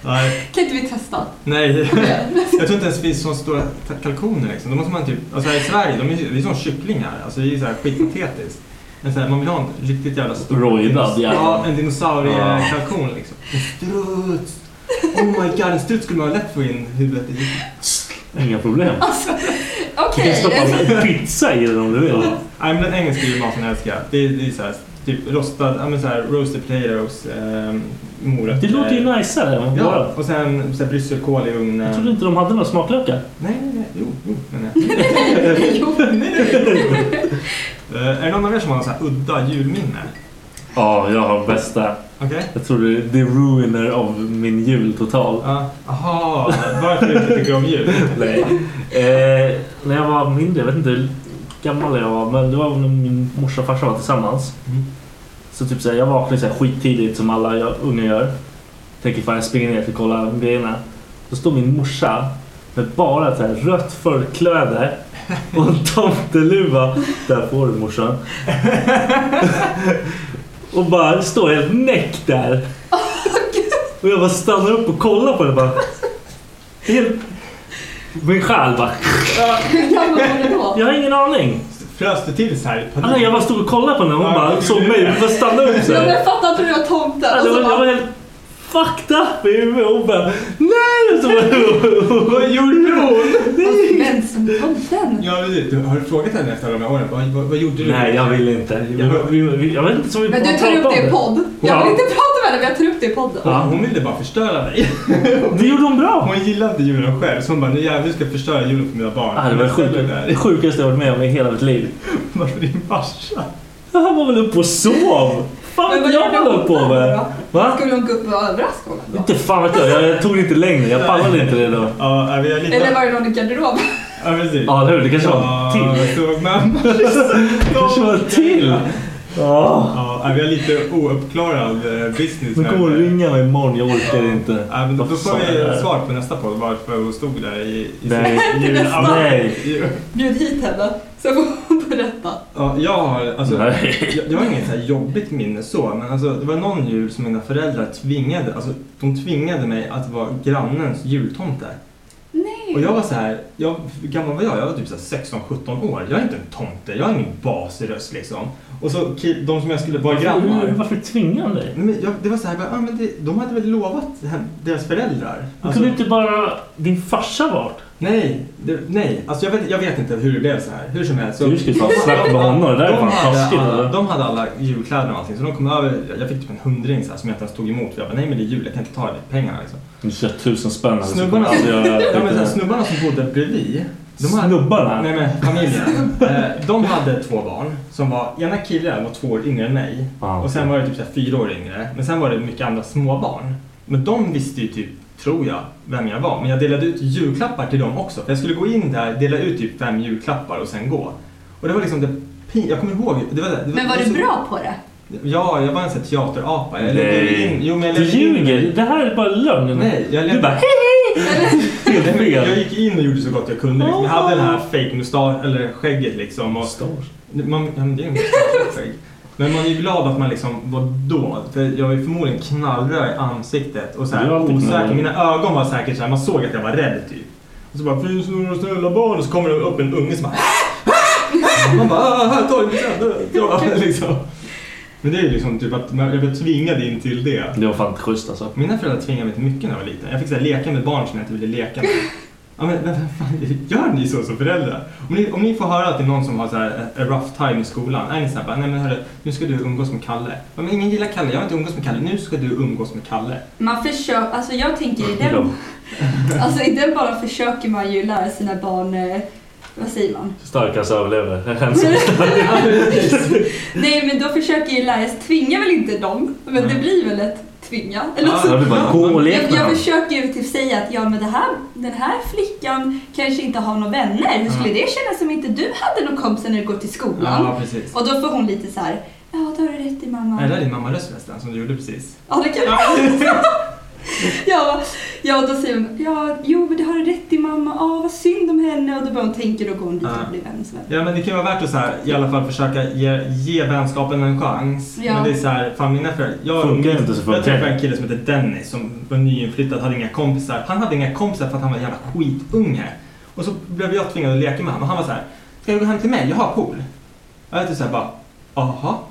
S1: Nej,
S4: Kan inte vi testa?
S1: nej. Jag tror inte ens det finns så stora ta- kalkoner liksom. Då måste man typ, alltså här i Sverige, de är, ju- vi är som kycklingar. Alltså det är ju så här skitpatetiskt. Men så här, man vill ha en riktigt jävla stor...
S3: Rojdad jävel.
S1: Ja, en dinosauriekalkon liksom. En struts! Oh my god, en struts skulle man lätt få in huvudet i.
S3: Inga problem. Du kan
S4: Okej.
S3: stoppa
S1: Alltså,
S3: en pizza i den om du vill.
S1: Nej men den engelska julmaten älskar jag. Det är, det är så här, typ rostad, ja men så här roasted potatoes, eh, morötter.
S3: Det låter ju najsare än
S1: Ja,
S3: våra.
S1: och sen så här, brysselkål i
S3: Jag trodde
S1: ugnen.
S3: inte de hade några smaklökar.
S1: Nej, nej, nej, jo, jo, men nej.
S4: Jo.
S1: Eh, är det någon av er som har någon så här udda julminne?
S3: Ja, jag har bästa.
S1: Okej?
S3: Jag tror det är the ruiner av min jul total.
S1: Ja. Aha, varför du inte tycker om jul?
S3: Nej. Eh, när jag var mindre, jag vet inte hur gammal jag var, men det var när min morsa och farsa var tillsammans.
S1: Mm.
S3: Så typ såhär, jag vaknade såhär skittidigt som alla jag- unga gör. Tänker fan jag springer ner för att kolla grejerna. Då står min morsa med bara såhär rött förkläde och en tomteluva. Där får du morsan. och bara står helt näck där. och jag bara stannar upp och kollar på det bara. Helt... Min själ bara.
S4: Hur gammal var du då?
S3: Jag har ingen aning.
S1: Frös det till så här i
S3: Alltså,
S1: panik?
S3: jag bara stod och kollade på den och hon bara såg mig. Hon bara stannade upp
S4: Ja,
S3: såhär.
S4: men fattar inte du att tomten? Och
S3: Alltså,
S4: så
S3: jag var- jag var
S4: bara,
S3: helt fucked up i huvudet. Hon bara nej! Och Så bara,
S1: Vad gjorde hon?
S4: men som tomten?
S1: Ja, precis. Du- Har du frågat henne efter alla de här åren? Vad, vad, vad gjorde du?
S3: nej, jag vill inte. Jag, vi- vi- jag vet inte så vi
S4: Men du tar
S3: pratar
S4: upp det
S3: om
S4: i podd. Jag vill inte prata med dig, men jag tar upp det i podden.
S3: Ja.
S1: Hon ville bara förstöra dig.
S3: Det gjorde hon bra.
S1: Hon gillade inte julen själv så hon bara nu jävlar ska jag förstöra julen för mina barn.
S3: Ah, det var det sjukaste, det sjukaste jag varit med om i hela mitt liv.
S1: Varför din farsa?
S3: Han var väl uppe och sov. Fan
S4: Men
S3: vad
S4: vad
S3: jag
S4: gjorde
S3: höll
S4: hon
S3: på
S4: då?
S3: med. Va?
S4: Skulle hon gå upp och överraska honom då?
S3: Inte fan vet jag. Jag tog det inte längre. Jag pallade inte det då.
S1: Ja, nej, vi är lite...
S4: Eller var det någon i garderoben?
S1: Ja, precis.
S3: Ja, det hur? Det kanske var
S1: Ja,
S3: till.
S1: jag såg mamma.
S3: Det kanske var till. Ja.
S1: Ja, nej, vi har lite ouppklarad eh, business.
S3: Nu
S1: här.
S3: kommer hon ringa mig imorgon. Jag orkar inte.
S1: Ja, men då
S3: Vad
S1: får
S3: fan är det
S1: vi
S3: här?
S1: svar på nästa podd varför hon stod där i... i
S3: Nej. Nej.
S1: sin-
S4: Bjud hit henne, så får hon berätta.
S1: Ja, jag har, alltså,
S3: Nej.
S1: jag, jag har inget så här jobbigt minne så, men alltså, det var någon jul som mina föräldrar tvingade, alltså, de tvingade mig att vara grannens jultomte. Och jag var så här, jag, hur gammal var jag? Jag var typ 16-17 år. Jag är inte en tomte, jag har ingen basröst liksom. Och så ki- de som jag skulle vara grannar.
S3: Hur- Varför tvingade han dig?
S1: Nej, men jag, det var så här, bara, ah, men det, de hade väl lovat hen- deras föräldrar. Alltså,
S3: Kunde inte bara din farsa varit?
S1: Nej, det, nej. Alltså, jag, vet, jag vet inte hur det blev så här. Hur som helst. Så,
S3: Du skulle fan snacka med honom. Det där är
S1: de,
S3: fan
S1: hade
S3: taskigt.
S1: alla,
S3: eller?
S1: de hade alla julkläder och allting så de kom över. Jag fick typ en hundring så här, som jag inte ens tog emot. För jag bara, nej men det är jul, jag kan inte ta det, pengarna liksom.
S3: Du kör tusen spänn. alltså.
S1: Snubbarna,
S3: Alltså, jag-
S1: ja, men, så här, snubbarna som bodde bredvid. hade-
S3: Snubbarna?
S1: Nej men familjen. Eh, de hade två barn. Som var, ena killen var två år yngre än mig.
S3: Ah,
S1: Och sen
S3: okej.
S1: var det typ så här, fyra år yngre. Men sen var det mycket andra småbarn. Men de visste ju typ, tror jag, vem jag var. Men jag delade ut julklappar till dem också. Jag skulle gå in där, dela ut typ fem julklappar och sen gå. Och det var liksom det pin- jag kommer ihåg. Det var, det var,
S4: Men var
S1: så-
S3: alltså-
S4: du bra på det?
S1: Ja, jag var en sån här teaterapa. Jag lämnade in-
S3: Nej.
S1: Jo, men jag
S3: Du
S1: lämnade in-
S3: ljuger. Det här är bara lögn.
S1: Nej, jag
S3: Du
S1: lämnade-
S3: bara hej hej. Helt
S1: Nej, men Jag
S3: fel.
S1: gick in och gjorde så gott jag kunde. Liksom. Jag hade den här fake mustasch eller skägget liksom. Och
S3: Mustasch?
S1: Man, ja, men det är en mustasch och skägg. Men man är ju glad att man liksom var dold. För jag var ju förmodligen knallröd i ansiktet och så
S3: Du är
S1: här
S3: alltid
S1: osäker.
S3: knallröd.
S1: Mina ögon var säkert så här, man såg att jag var rädd typ. Och så bara, finns det några snälla barn? Och så kommer det upp ah, en unge som bara, man bara, "Ah, här, ta din present. dra", liksom. Men det är ju liksom typ att man- jag blev tvingad in till det.
S3: Det var fan inte schysst alltså.
S1: Mina föräldrar tvingade mig till mycket när jag var liten. Jag fick så här, leka med barn som jag inte ville leka med. Ja, men, men vad fan, gör ni så som föräldrar? Om ni, om ni får höra att det är någon som har så här, eh, a rough time i skolan, är ni så här, bara, nej men hörru, nu ska du umgås med Kalle. Ja, men ingen gillar Kalle, jag vill inte umgås med Kalle, nu ska du umgås med Kalle.
S4: Man försöker, alltså jag tänker i den, alltså i den bara försöker man ju lära sina barn, eh, vad säger man?
S3: Starkast överlever. Ensam stark.
S4: Nej men då försöker jag ju lära, jag tvingar väl inte dem, men det blir väl ett tvinga. Eller
S3: Ja,
S4: så-
S3: det blir bara, gå och lek
S4: jag,
S3: med dem.
S4: jag försöker ju typ säga att ja men det här, den här flickan kanske inte har några vänner, hur skulle
S1: Mm.
S4: det kännas om inte du hade någon kompis när du går till skolan?
S1: Ja, precis.
S4: Och då får hon lite så här, ja då har du rätt i mamma.
S1: Nej, det där är din mammaröst förresten, som du gjorde precis.
S4: Ja, det kan ja, ja, då säger hon ja, jo men det har du rätt i mamma, ja vad synd om henne och då börjar hon tänka och går hon dit och
S1: Ja.
S4: blir vän. Så här.
S1: Ja, men det kan ju vara värt att så här, i alla fall försöka ge, ge vänskapen en chans.
S4: Ja.
S1: Men det är så här, fan mina föräldrar. Jag,
S3: Funkar inte så funkar
S1: jag träffade en kille som hette Dennis som var nyinflyttad, hade inga kompisar. Han hade inga kompisar för att han var en jävla skitunge. Och så blev jag tvingad att leka med honom och han var så här, ska du gå hem till mig? Jag har pool. Jag vet inte så här bara, aha.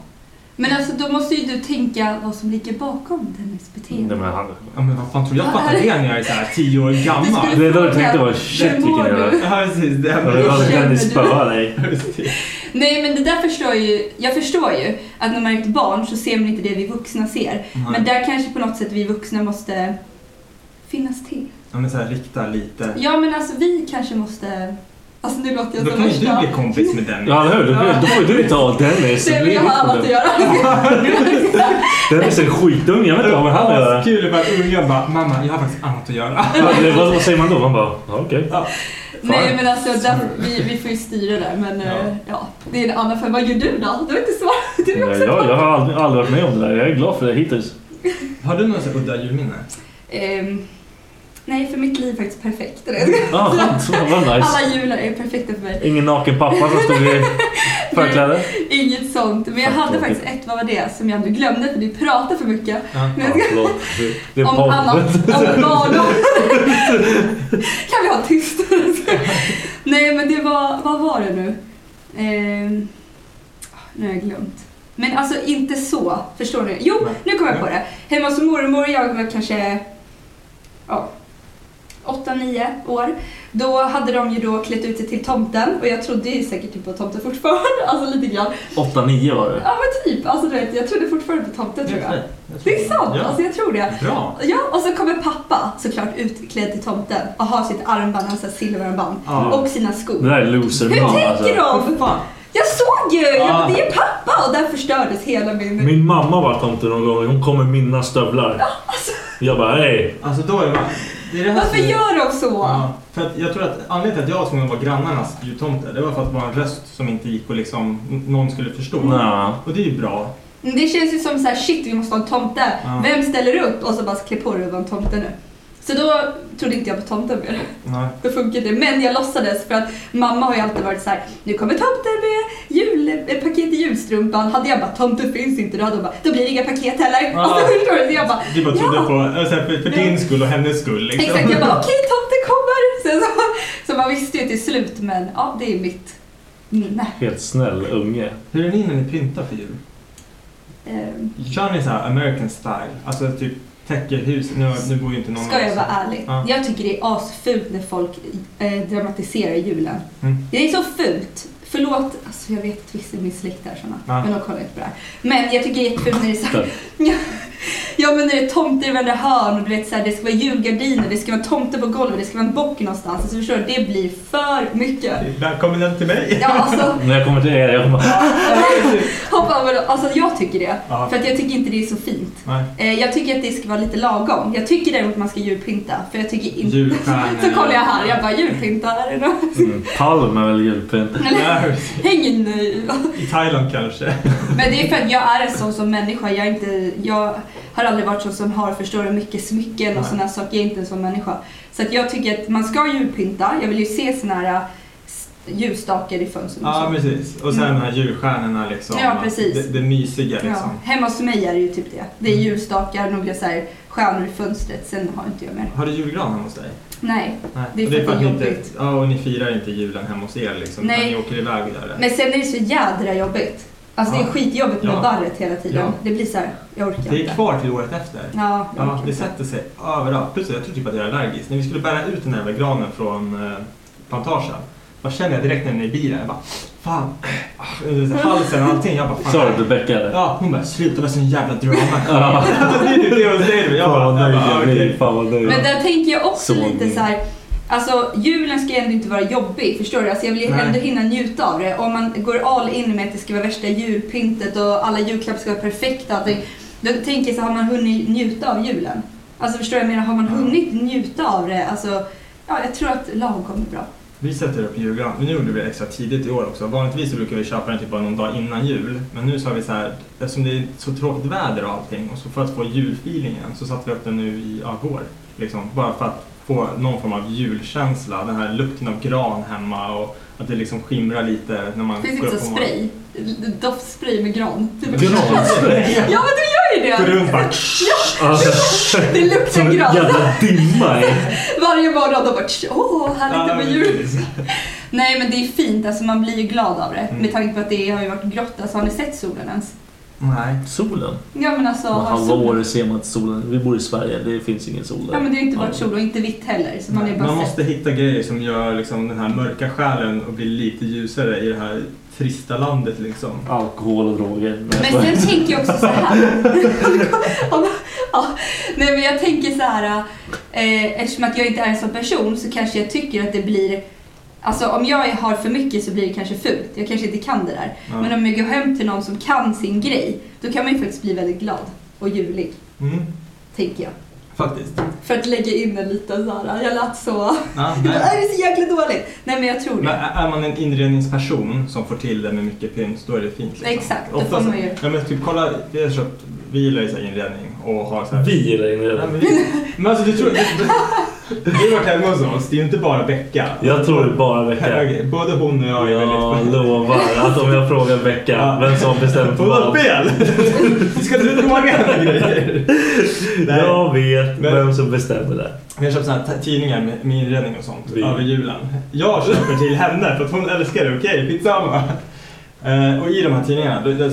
S4: Men alltså då måste ju du tänka vad som ligger bakom Dennis beteende.
S3: Nej, men han...
S1: Ja, men vad fan tror jag fattar det när jag är så här tio år gammal?
S3: Det är då jag tänkte bara shit
S4: Hur mår
S3: vilken jävla...
S4: du?
S1: Ja, precis. Det
S3: Jag vill aldrig
S4: Känner
S3: kunna
S4: du?
S3: spöa dig.
S4: Nej men det där förstår ju, jag förstår ju att när man är ett barn så ser man inte det vi vuxna ser.
S1: Nej.
S4: Men där kanske på något sätt vi vuxna måste finnas till.
S1: Ja, men så här, rikta lite.
S4: Ja men alltså vi kanske måste, alltså nu låter jag
S1: Då
S4: som
S1: kan ju
S4: värsta-
S1: du bli kompis med Dennis.
S3: Ja, eller hur? Då blir- Då får ju du ta Dennis.
S4: Nej, men
S3: blir
S4: jag
S3: ditt
S4: har annat att
S3: problem.
S4: göra.
S3: Dennis är en skitunge, jag vet inte vad han har att göra.
S1: Kul för att ungen bara, mamma jag har faktiskt annat att göra.
S3: Ja, det- Vad vad säger man då? Man bara, ja, okej.
S4: Nej men alltså där, vi, vi får ju styra där men eh, ja. det är en annan fråga. Vad gör du då? Du är inte svar. Du är
S3: Jag,
S4: också
S3: jag,
S4: barn.
S3: jag har aldrig, aldrig varit med om det där. Jag är glad för det hittills.
S1: Har du någon sån här udda julminne?
S4: Ehm, nej för mitt liv är faktiskt perfekt.
S3: Ja, skönt. Vad nice.
S4: Alla jular är perfekta för mig.
S3: Ingen naken pappa som stod i förkläde.
S4: Inget sånt. Men jag hade
S3: Fattar.
S4: faktiskt ett, vad var det, som jag nu glömde för vi pratar för mycket.
S3: Ja,
S4: Men-
S3: förlåt. Det är
S4: om annat, om barndom. kan vi ha tyst? Nej men det var, vad var det nu? Ehm, nu har jag glömt. Men alltså inte så, förstår ni? Jo, nu kommer jag på det. Hemma hos mormor, och jag var kanske ja, 8-9 år. Då hade de ju då klätt ut sig till tomten och jag trodde ju säkert typ på tomten fortfarande, alltså lite grann.
S3: 8-9 var det.
S4: Ja men typ, alltså du vet, jag trodde fortfarande på tomten tror jag. Det är sant,
S3: Ja.
S4: alltså jag tror det.
S3: Bra.
S4: Ja, och så kommer pappa såklart utklädd till tomten och har sitt armband, alltså silverarmband
S3: Ja.
S4: och sina skor.
S3: Det där är loser
S4: Hur tänker
S1: alltså.
S4: de?
S1: Fan.
S4: Jag såg ju!
S3: Ja.
S4: Ja. men Det är pappa och där förstördes hela min...
S3: Min mamma var tomte någon gång. Hon kom med mina stövlar. Jag bara, hej.
S1: Alltså då är man... Det är det här
S4: Alltså, Varför
S1: som är-
S4: gör de så?
S1: Ja, för att jag tror att anledningen till att jag så var grannarnas jultomte, det var för att det var en röst som inte gick och liksom n- någon skulle förstå.
S3: Ja.
S1: Och det är ju bra.
S4: Men Det känns ju som så här: shit vi måste ha en tomte.
S1: Ja.
S4: Vem ställer upp? Och så bara klä på dig och vara en tomte nu. Så då trodde inte jag på tomten mer.
S1: Nej.
S4: Då funkade det. Men jag låtsades för att mamma har ju alltid varit så här: nu kommer tomten med jul, ett paket i julstrumpan. Hade jag bara, tomten finns inte, då hade hon bara, då blir det inga paket heller.
S1: Ja.
S4: Alltså förstår du? Så jag bara,
S1: Du bara trodde
S4: ja.
S1: på, alltså, för, för din skull och hennes skull liksom.
S4: Exakt, jag bara okej tomten kommer. Sen så, så man visste ju till slut men ja, det är mitt minne.
S3: Helt snäll unge.
S1: Hur är ni när ni pyntar för jul?
S4: Ehm,
S1: Kör ni så här American style? Alltså typ täcker hus? Nu, nu bor ju inte någon
S4: Ska
S1: av
S4: jag
S1: oss.
S4: vara ärlig?
S1: Ja.
S4: Jag tycker det är asfult när folk eh, dramatiserar julen.
S1: Mm.
S4: Det är så fult. Förlåt, alltså jag vet att vissa i min släkt är såna,
S1: Ja.
S4: men de kollar inte på det här. Men jag tycker det är jättefult när det är så här,
S3: Där.
S4: ja men när det är tomter i varenda hörn och du vet så här, det ska vara julgardiner, det ska vara tomter på golvet, det ska vara en bock någonstans. Alltså förstår du, det blir för mycket.
S1: Välkommen hem till mig!
S4: Ja, alltså.
S3: När jag kommer till er, jag kommer bara,
S4: Hoppa, men, alltså jag tycker det.
S3: Ja.
S4: För att jag tycker inte det är så fint.
S1: Nej.
S4: Eh, jag tycker att det ska vara lite lagom. Jag tycker däremot man ska julpynta. För jag tycker inte...
S3: Julstjärnor.
S4: Så kollar jag här, jag bara julpynta, är det något?
S3: mm, palm är väl julpynt.
S4: Eller- Häng in i.
S1: I Thailand kanske.
S4: Men det är för att jag är en sån som människa. Jag, är inte, jag har aldrig varit sån som har förstår du, mycket smycken och
S1: Nej.
S4: sådana saker. Jag är inte en sån människa. Så att jag tycker att man ska julpynta. Jag vill ju se såna här eh, s- ljusstakar i fönstren och
S1: Ja,
S4: så.
S1: precis. Och sen
S4: Mm.
S1: de här julstjärnorna liksom.
S4: Ja, precis.
S1: Det, det mysiga liksom.
S4: Ja, hemma hos mig är det ju typ det. Det är ljusstakar, några så här stjärnor i fönstret, sen har inte jag mer.
S1: Har du julgran hemma hos dig?
S4: Nej, det
S1: Och
S4: är för att det är
S1: ni
S4: jobbigt.
S1: inte, Ja, och ni firar inte julen hemma hos er liksom.
S4: Nej.
S1: utan Ni åker iväg och gör det.
S4: Men sen är det så jädra jobbigt. Alltså det är
S1: Ja.
S4: skitjobbigt med
S1: Ja.
S4: barret hela tiden.
S1: Ja.
S4: Det blir så här, jag orkar
S1: Det är
S4: inte.
S1: kvar till året efter.
S4: Ja, jag
S1: Ja,
S4: orkar
S1: det
S4: inte.
S1: sätter sig överallt. Plus jag tror typ att jag är allergisk. När vi skulle bära ut den här jävla granen från eh, plantagen. Vad känner jag direkt när den är i bilen? Jag bara, fan. Ah, så här, Halsen och allting. Jag bara, fan.
S3: Sa du att du bäckade?
S1: Ja, hon bara, sluta med sån jävla drama.
S3: Ja.
S1: det är ju det hon säger. Jag bara,
S3: Fan
S1: jag
S3: vad nöjd
S1: bara,
S3: jag
S1: okej.
S3: blir. Fan vad nöjd.
S4: Men där tänker jag också
S3: Så
S4: lite
S3: mycket.
S4: så här. Alltså julen ska ju ändå inte vara jobbig, förstår du? Alltså jag vill ju
S3: Nej.
S4: ändå hinna njuta av det. Om man går all in med att det ska vara värsta julpyntet och alla julklappar ska vara perfekta och allting. Då tänker jag så här, har man hunnit njuta av julen? Alltså förstår du vad jag menar? Har man hunnit njuta av det? Alltså, ja jag tror att lagom kommer bra.
S1: Vi sätter upp julgran. Men nu gjorde vi det extra tidigt i år också. Vanligtvis så brukar vi köpa den typ bara någon dag innan jul. Men nu så har vi så här, eftersom det är så tråkigt väder och allting och så för att få julfeelingen så satte vi upp den nu i ja, går. Liksom, bara för att få någon form av julkänsla. Den här lukten av gran hemma och att det liksom skimrar lite när man
S4: Finns det inte så
S1: morgonen.
S4: spray? Doftspray med gran? Typ.
S3: Granspray?
S4: Ja men det gör ju det!
S3: Går runt bara-
S4: Ja!
S1: Alltså,
S4: Det
S3: Som
S4: luktar
S3: en
S4: gran.
S3: jävla dimma i.
S4: Varje morgon de bara "Tsch, åh, härligt
S3: Ja,
S4: med jul. Nej men det är fint, alltså man blir ju glad av det.
S3: Mm.
S4: Med tanke på att det har ju varit grått, alltså har ni sett solen ens?
S1: Nej.
S3: Solen?
S4: Ja men alltså,
S3: Men
S4: har
S3: halva
S4: solen...
S3: året ser man inte solen. Vi bor i Sverige, det finns ingen sol där.
S4: Ja men det har ju inte varit sol och inte vitt heller. Så man är bara
S1: Man
S4: sett.
S1: måste hitta grejer som gör liksom den här mörka själen och bli lite ljusare i det här trista landet liksom.
S3: Alkohol och droger.
S4: Men sen tänker jag också så här. Om- ja, nej men jag tänker så här. Eh, eftersom att jag inte är en sån person så kanske jag tycker att det blir Alltså om jag har för mycket så blir det kanske fult. Jag kanske inte kan det där.
S1: Ja.
S4: Men om jag går hem till någon som kan sin grej, då kan man ju faktiskt bli väldigt glad och julig,
S1: Mm,
S4: tänker jag.
S1: faktiskt.
S4: För att lägga in en liten så här, jag lät så...
S1: Ja,
S4: Det
S1: nej.
S4: här är så jäkla dåligt. Nej men jag tror
S1: Men
S4: det.
S1: är man en inredningsperson som får till det med mycket pynt, då är det fint. Liksom.
S4: Exakt, då får
S1: Oftast-
S4: man ju-
S1: Ja, men typ, kolla, vi, har köpt, vi gillar ju så här inredning och har så här...
S3: Vi gillar inredning.
S1: Ja, men, vi, men alltså du tror... Du, du, du har varit hemma hos oss, det är ju inte bara Becka.
S3: Jag tror det är bara Becka.
S1: Herregud, Både hon och jag är
S3: Jag lovar att om jag frågar Becka vem som har bestämt
S1: Hon har
S3: vad.
S1: fel! Vi ska inte fråga henne grejer. Nej.
S3: Jag vet vem som bestämmer det.
S1: Vi har köpt såna här t- tidningar med, med inredning och sånt
S3: Vi.
S1: över julen. Jag köper till henne för att hon älskar det, okej, skitsamma. Eh, och i de här tidningarna, då, då,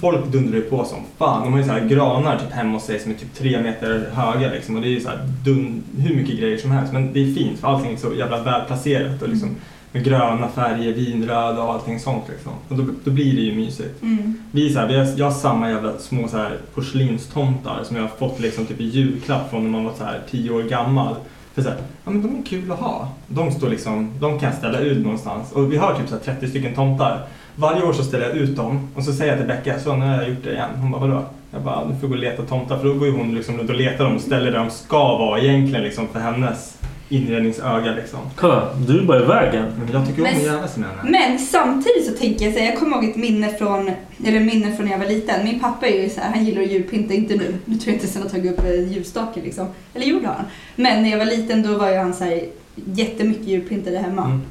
S1: folk dundrar ju på som fan. De har ju så här granar typ hemma hos sig som är typ tre meter höga liksom. Och det är ju så här dun, hur mycket grejer som helst. Men det är fint för allting är så jävla välplacerat och liksom med gröna färger, vinröda och allting sånt liksom. Och då, då blir det ju mysigt.
S4: Mm.
S1: Vi är så här, vi har, jag har samma jävla små så här porslinstomtar som jag har fått liksom typ i julklapp från när man var så här tio år gammal. För så här, ja men de är kul att ha. De står liksom, de kan jag ställa ut någonstans. Och vi har typ så här 30 stycken tomtar. Varje år så ställer jag ut dem och så säger jag till Becka, så nu har jag gjort det igen. Hon bara, vadå? Jag bara, du får gå och leta tomtar. För då går ju hon liksom runt och letar dem och ställer där de ska vara egentligen liksom för hennes inredningsöga liksom.
S3: Kolla, du är bara i vägen.
S1: Men jag tycker om
S4: Men-
S1: att jävlas med henne.
S4: Men samtidigt så tänker jag säga, jag kommer ihåg ett minne från, eller minne från när jag var liten. Min pappa är ju så här, han gillar att julpynta, inte nu. Nu tror jag inte sen har tagit upp eh, ljusstake liksom. Eller gjorde han? Men när jag var liten då var ju han så här jättemycket julpyntade hemma.
S1: Mm.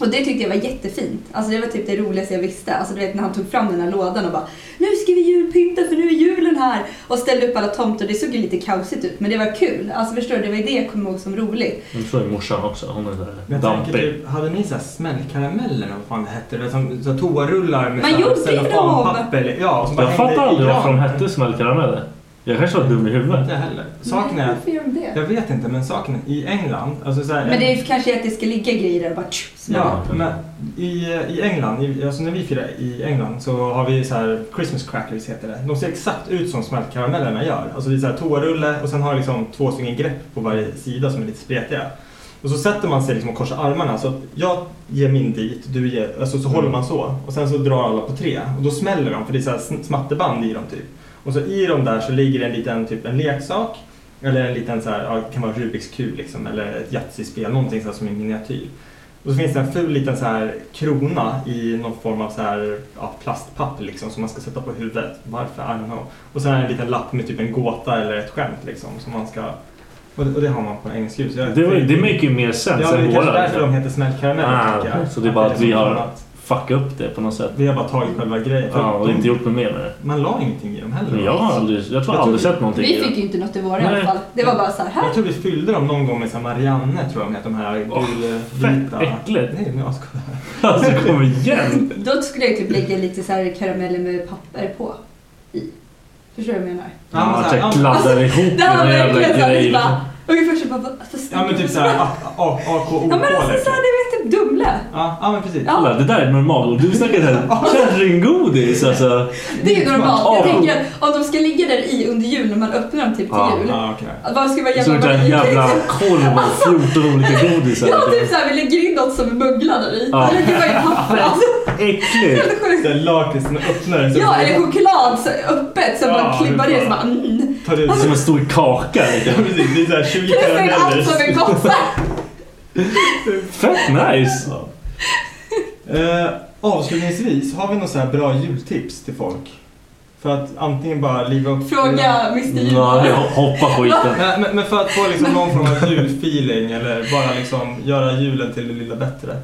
S4: Och det tyckte jag var jättefint. Alltså det var typ det roligaste jag visste. Alltså du vet när han tog fram den här lådan och bara Nu ska vi julpynta för nu är julen här! Och ställde upp alla tomter. Det såg ju lite kaosigt ut men det var kul. Alltså förstår du, det var ju det jag kom ihåg som roligt.
S3: Nu tror jag morsan också. Hon är där
S1: Men jag tänker,
S3: dampig.
S1: typ, hade ni så här smällkarameller eller vad fan det hette? Eller som, så här toarullar med
S4: Man
S1: så här
S4: gjorde ju
S1: cellofanpapper, eller- Ja, och så bara
S3: Jag
S1: hängde
S3: fattar
S1: i
S3: aldrig varför de
S1: granen.
S3: hette smällkarameller. Jag kanske var dum i huvudet.
S1: Inte jag heller. Saken är,
S4: Varför gör de det?
S1: jag vet inte, men saken är, i England, alltså så här,
S4: Men det är ju kanske att det ska ligga grejer där och bara tsch,
S1: Ja, men i, i England, i, alltså när vi firar i England så har vi så här Christmas crackers heter det. De ser exakt ut som smältkaramellerna gör. Alltså det är så här toarulle och sen har det liksom två stycken grepp på varje sida som är lite spretiga. Och så sätter man sig liksom och korsar armarna så att jag ger min dit, du ger, alltså så håller man så. Och sen så drar alla på tre och då smäller de för det är så här sm- smatterband i dem typ. Och så i dem där så ligger en liten typ en leksak eller en liten så här, ja, det kan vara Rubiks kub liksom eller ett Yatzy-spel, någonting så här som är miniatyr. Och så finns det en ful liten så här krona i någon form av så här, ja, plastpapper liksom, som man ska sätta på huvudet. Varför? I don't know. Och sen är det en liten lapp med typ en gåta eller ett skämt liksom, som man ska... Och det, och det har man på engelsk ljus.
S3: Det, var, det make ju mer sense
S1: Ja, det är
S3: än våra. liksom.
S1: kanske därför de heter smällkarameller.
S3: Ah,
S1: tycker jag.
S3: Så det är bara att vi
S1: liksom
S3: har
S1: annat.
S3: fucka upp det på något sätt.
S1: Vi har bara tagit själva grejen.
S3: Ja, och inte gjort något mer med det.
S1: Man la ingenting i dem heller.
S3: Men jag har aldrig, jag tror jag aldrig sett någonting i
S4: Vi
S3: det.
S4: fick ju inte något i våra i
S3: Nej.
S4: alla fall. Det var bara så här.
S1: Jag
S4: här.
S1: tror vi fyllde dem någon gång med så här Marianne, tror jag de heter, de här gulvita.
S3: äckligt.
S1: Nej, men jag skojar.
S3: Alltså kom igen!
S4: Då skulle jag typ lägga lite så här karameller med papper på. I. Förstår du vad jag menar?
S3: Ja,
S1: men så
S3: att
S1: här,
S3: jag
S1: ja,
S3: kladdar ihop
S4: Det här var
S3: den jävla liksom.
S4: verkligen såhär, vi
S3: grejen.
S4: bara... Och vi först bara... vad- fast-
S1: Ja, men typ såhär AKOK.
S4: Ja men alltså såhär, det vet typ Dumle.
S1: liksom. Ja, ja, men precis.
S3: Kolla, det där är normalt. Du snackar såhär kärringgodis alltså.
S4: Det är ju normalt.
S3: Ja.
S4: Jag tänker om de ska ligga där i under jul när man öppnar dem typ till
S3: Ja,
S4: jul.
S1: Ja, okej.
S4: Vad ska man
S3: Så
S4: jävla
S3: det är en jävla korv med 14 olika godisar.
S4: Ja, typ såhär, vi lägger in något som är möglar där i.
S3: Ja.
S4: Vi lägger bara i papper. Alltså,
S3: Äckligt!
S4: helt sjukt.
S1: Det är lakrits som öppnar den, så
S4: Ja,
S1: bara-
S4: eller choklad så öppet som
S1: Ja,
S4: man klibbar
S1: det är
S4: ner så
S1: bra.
S4: bara mm.
S1: Tar ut
S3: Som en stor kaka. liksom.
S1: Precis, det är såhär 20
S4: Kryssa in allt som är gott. så här.
S3: Fett nice!
S1: Eh, avslutningsvis, har vi något så här bra jultips till folk? För att antingen bara liva upp...
S4: Fråga Mr Jul.
S3: Nej, hoppa skiten.
S1: Men, men, men för att få liksom någon form av julfeeling eller bara liksom göra julen till det lilla bättre.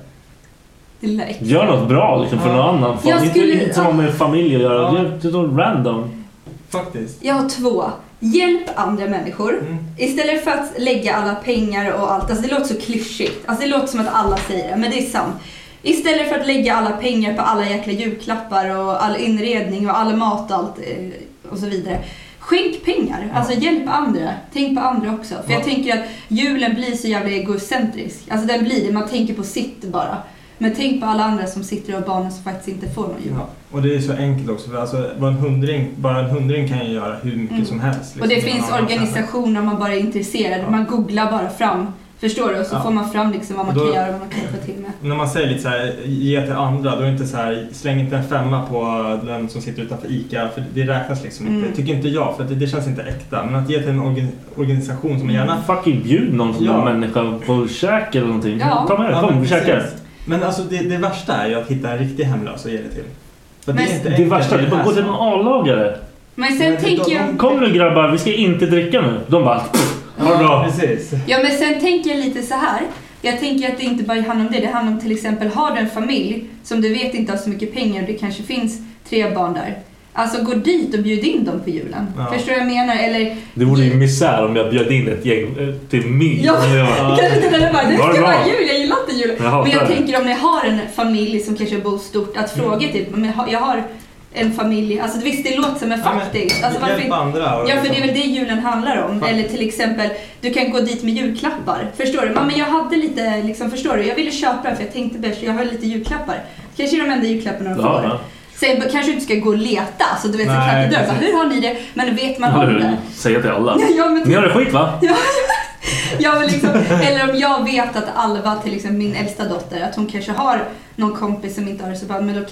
S4: Lilla äckligt.
S3: Gör något bra liksom för någon annan. Fan,
S4: Jag skulle-
S3: inte, inte som har med familj att göra.
S1: Ja.
S3: Det är- Det är random.
S1: Faktiskt.
S4: Jag har två. Hjälp andra människor. Istället för att lägga alla pengar och allt. Alltså det låter så klyschigt. Alltså det låter som att alla säger det, men det är sant. Istället för att lägga alla pengar på alla jäkla julklappar och all inredning och all mat och allt eh, och så vidare. Skänk pengar. Alltså hjälp andra. Tänk på andra också. För jag tänker att julen blir så jävla egocentrisk. Alltså den blir det. Man tänker på sitt bara. Men tänk på alla andra som sitter och har barnen som faktiskt inte får någon jul.
S1: Ja. Och det är så enkelt också för alltså, bara, en hundring, bara en hundring kan ju göra hur mycket
S4: Mm.
S1: som helst.
S4: Och det
S1: liksom.
S4: finns
S1: Ja,
S4: organisationer om man bara är intresserad. Man googlar bara fram. Förstår du? Och så
S1: Ja.
S4: får man fram liksom vad man
S1: Och då-
S4: kan göra och vad man kan hjälpa till med.
S1: När man säger lite så här, ge till andra, då är det inte så här, släng inte en femma på den som sitter utanför ICA, för det räknas liksom
S4: Mm.
S1: inte. Tycker inte jag, för att det, det känns inte äkta. Men att ge till en organ, organisation
S3: Mm.
S1: som gärna...
S3: Fucking bjud någon sån där
S1: Ja.
S3: människa på käk eller någonting.
S4: Ja.
S3: Ta med dig,
S1: Ja,
S3: kom
S1: men
S3: vi
S1: precis.
S3: käkar.
S1: Men alltså det, det värsta är ju att hitta en riktig hemlös och ge det till. För
S4: Men-
S1: inte
S3: Det
S1: enkelt,
S3: värsta, det är bara att gå
S1: här
S3: till en A-lagare.
S4: Men sen
S1: Men det-
S4: tänker jag...
S1: de-
S3: Kom nu grabbar, vi ska inte dricka nu. De bara... "Pff, Ha det
S1: Ja,
S3: bra.
S1: precis.
S4: Ja, men sen tänker jag lite så här. Jag tänker att det inte bara handlar om det. Det handlar om till exempel, har du en familj som du vet inte har så mycket pengar och det kanske finns tre barn där. Alltså gå dit och bjud in dem på julen.
S1: Ja.
S4: Förstår du vad jag menar? Eller...
S3: Det vore ju misär om jag bjöd in ett gäng eh, till mig.
S4: Ja, kanske inte den där bara, det
S3: Var
S4: ska
S3: bra.
S4: vara jul, jag gillar inte jul.
S3: Jag hatar
S4: men jag
S3: det.
S4: tänker om ni har en familj som kanske bor stort, att fråga typ, men jag har- jag har en familj, alltså visst det låter som en
S1: Ja, men
S4: faktiskt. Alltså, varför
S1: Hjälp
S4: inte-
S1: andra. och
S4: Ja, för det
S1: liksom-
S4: är väl det julen handlar om.
S1: Fan.
S4: Eller till exempel, du kan gå dit med julklappar. Förstår du? Mamma, jag hade lite, liksom, förstår du? Jag ville köpa den för jag tänkte bäst, jag har lite julklappar. Kanske är de enda julklapparna de
S3: Ja,
S4: får.
S3: ja.
S4: Sen b- kanske du inte ska gå och leta, så du vet, så
S1: Nej,
S4: knackar dörren. bara,
S1: precis.
S4: Hur har ni det? Men vet man
S3: Eller
S4: om
S3: hur?
S4: det?
S3: Säga till alla.
S4: Ja, men
S3: Ni har det skit va?
S4: Ja, jag vill liksom, eller om jag vet att Alva, till exempel min äldsta dotter, att hon kanske har någon kompis som inte har det så bra. Men då,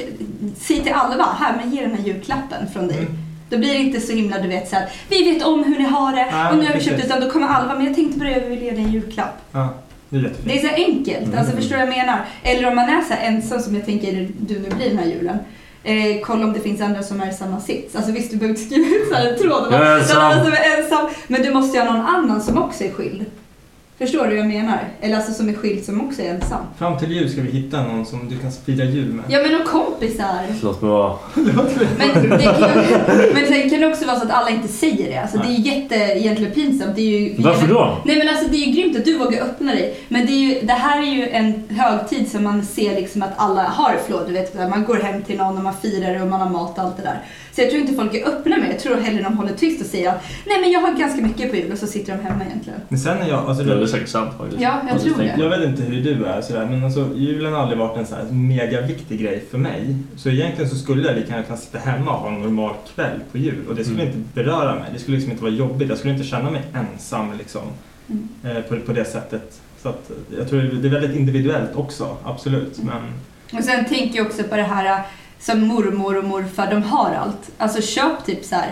S4: säg till Alva, här, men ge den här julklappen från dig.
S1: Mm.
S4: Då blir det inte så himla, du vet, så här, vi vet om hur ni har det
S1: Nej,
S4: och nu har vi köpt
S1: precis.
S4: utan då kommer Alva, men jag tänkte på det, jag vill ge dig en julklapp.
S1: Ja, det är jättefint.
S4: Det är så här enkelt,
S3: Mm.
S4: alltså förstår du vad jag menar? Eller om man är så här ensam som jag tänker du nu blir den här julen. Eh, kolla om det finns andra som är i samma sits. Alltså visst, du behöver inte skriva ut så här en tråd om
S3: Jag är
S4: att den andra
S3: ensam.
S4: som är ensam. Men du måste ju ha någon annan som också är skild. Förstår du vad jag menar? Eller alltså som är skild som också är ensam.
S1: Fram till jul ska vi hitta någon som du kan fira jul med.
S4: Ja men och kompisar.
S3: Låt mig vara.
S4: Men, det kan ju, men sen kan det också vara så att alla inte säger det. Alltså, det är ju jätte, egentligen pinsamt. Det är ju,
S3: Varför då?
S4: Nej men alltså det är ju grymt att du vågar öppna dig. Men det, är ju, det här är ju en högtid som man ser liksom att alla har flåd. Du vet, man går hem till någon och man firar och man har mat och allt det där. Så jag tror inte folk är öppna med det. Jag tror hellre de håller tyst och säger att nej men jag har ganska mycket på jul och så sitter de hemma egentligen.
S1: Men sen är jag, alltså,
S3: Det är säkert sant faktiskt.
S4: Ja, jag
S3: Alltså,
S4: tror
S3: tänk-
S4: det.
S1: Jag vet inte hur du är sådär, men alltså, julen har aldrig varit en så här mega viktig grej för mig. Så egentligen så skulle jag lika gärna kunna sitta hemma och ha en normal kväll på jul och det skulle
S3: Mm.
S1: inte beröra mig. Det skulle liksom inte vara jobbigt. Jag skulle inte känna mig ensam liksom,
S4: Mm.
S1: eh, på, på det sättet. Så att, eh, jag tror det är väldigt individuellt också, absolut.
S4: Mm.
S1: Men
S4: Och sen tänker äh, jag också på det här eh, som mormor och morfar, de har allt. Alltså köp typ så här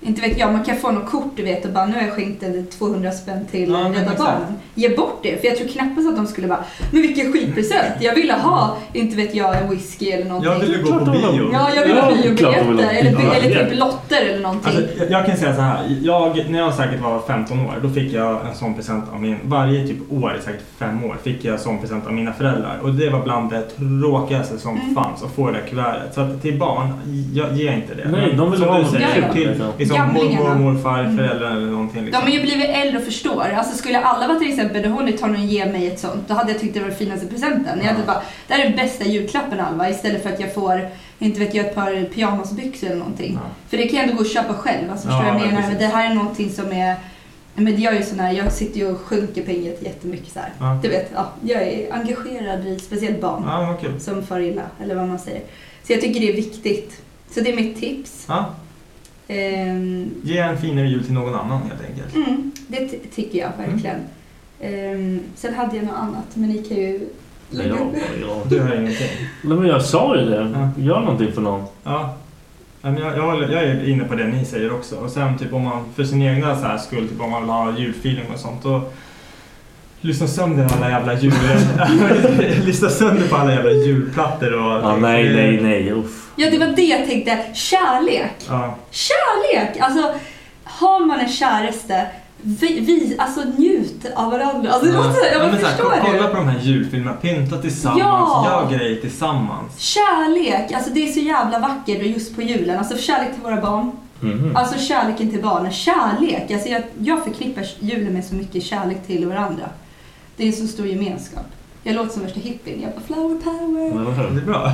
S4: Inte vet jag, man kan få något kort du vet och bara nu har jag skänkt en 200 spänn till
S1: Ja, men
S4: Rädda
S1: exakt.
S4: Barnen. Ge bort det, för jag tror knappast att de skulle bara men vilken skitpresent, jag ville ha, inte vet jag, en whisky eller någonting.
S1: Jag ville gå på bio.
S4: Ja, jag ville ha
S1: klart de vill ha
S4: biobiljetter eller,
S1: bio.
S4: eller typ lotter eller någonting.
S1: Alltså, jag- jag kan säga så här. Jag, när jag säkert var 15 år, då fick jag en sån present av min... Varje typ år, i säkert fem år, fick jag en sån present av mina föräldrar. Och det var bland det tråkigaste som
S4: Mm.
S1: fanns, att få det där kuvertet. Så att till barn, jag ger inte det.
S3: Nej, de vill
S1: Som
S3: ha
S1: du
S3: något
S1: säger,
S3: kul.
S1: Till liksom,
S4: Gamlingarna. Mm.
S1: mormor, morfar, föräldrar eller någonting.
S4: De
S1: Liksom.
S4: har ju blivit äldre och förstår. Alltså skulle alla vara till exempel The Honey tar någon ge mig ett sånt, då hade jag tyckt det var den finaste presenten. Jag hade bara, det här är den bästa julklappen Alva, istället för att jag får, inte vet jag, ett par pyjamasbyxor eller någonting. För det kan jag ändå gå och köpa själv, alltså förstår
S1: Ja,
S4: jag vad jag
S1: men
S4: menar?
S1: precis.
S4: Det här är någonting som är, men jag är ju sån här, jag sitter ju och sjunker pengar till jättemycket så här.
S1: Ja.
S4: Du vet, ja, jag är engagerad i speciellt barn
S1: Ja, vad kul.
S4: som far illa, eller vad man säger. Så jag tycker det är viktigt. Så det är mitt tips.
S1: Ja,
S4: Ehm,
S1: ge en finare jul till någon annan helt enkelt.
S4: Mm, det ty- tycker jag verkligen. Ehm, sen hade jag något annat, men ni kan ju...
S3: Nej, jag, jag.
S1: Du har ingenting.
S3: Nej, men jag sa ju det. Gör någonting för någon.
S1: Ja. Ja, men Jag, jag, håller- jag är inne på det ni säger också. Och sen typ om man för sin egna så här skull, typ om man vill ha julfeeling och sånt. Då lyssna sönder alla jävla jul... lyssna sönder på alla jävla julplattor och...
S3: Ja, nej, nej, nej. Uff.
S4: Ja, det var det jag tänkte. Kärlek!
S1: Ja.
S4: Kärlek! Alltså, har man en käraste, vi, vi, alltså njut av varandra. Alltså, det låter så här,
S1: Ja,
S4: jag
S1: men
S4: men
S1: så här,
S4: förstår
S1: ko-
S4: du?
S1: Kolla på de här julfilmerna. Pynta tillsammans,
S4: Ja!
S1: gör grejer tillsammans.
S4: Kärlek, alltså det är så jävla vackert och just på julen. Alltså kärlek till våra barn. Alltså kärleken till barnen. Kärlek, alltså jag, jag förknippar julen med så mycket kärlek till varandra. Det är en så stor gemenskap. Jag låter som värsta hippien. Jag bara flower power.
S1: Det är bra.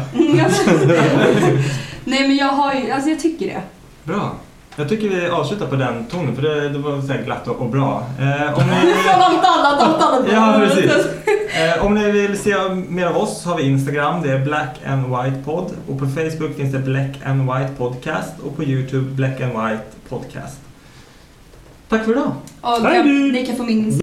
S4: Nej men jag har ju, alltså jag tycker det.
S1: Bra. Jag tycker vi avslutar på den tonen för det, det var så här glatt och, och bra. Eh, om ni...
S4: Från allt annat, allt annat.
S1: Ja, precis. Eh, om ni vill se mer av oss har vi Instagram, det är Black and White Pod. Och på Facebook finns det Black and White Podcast och på YouTube Black and White Podcast. Tack för idag!
S4: Och ni kan, ni kan få min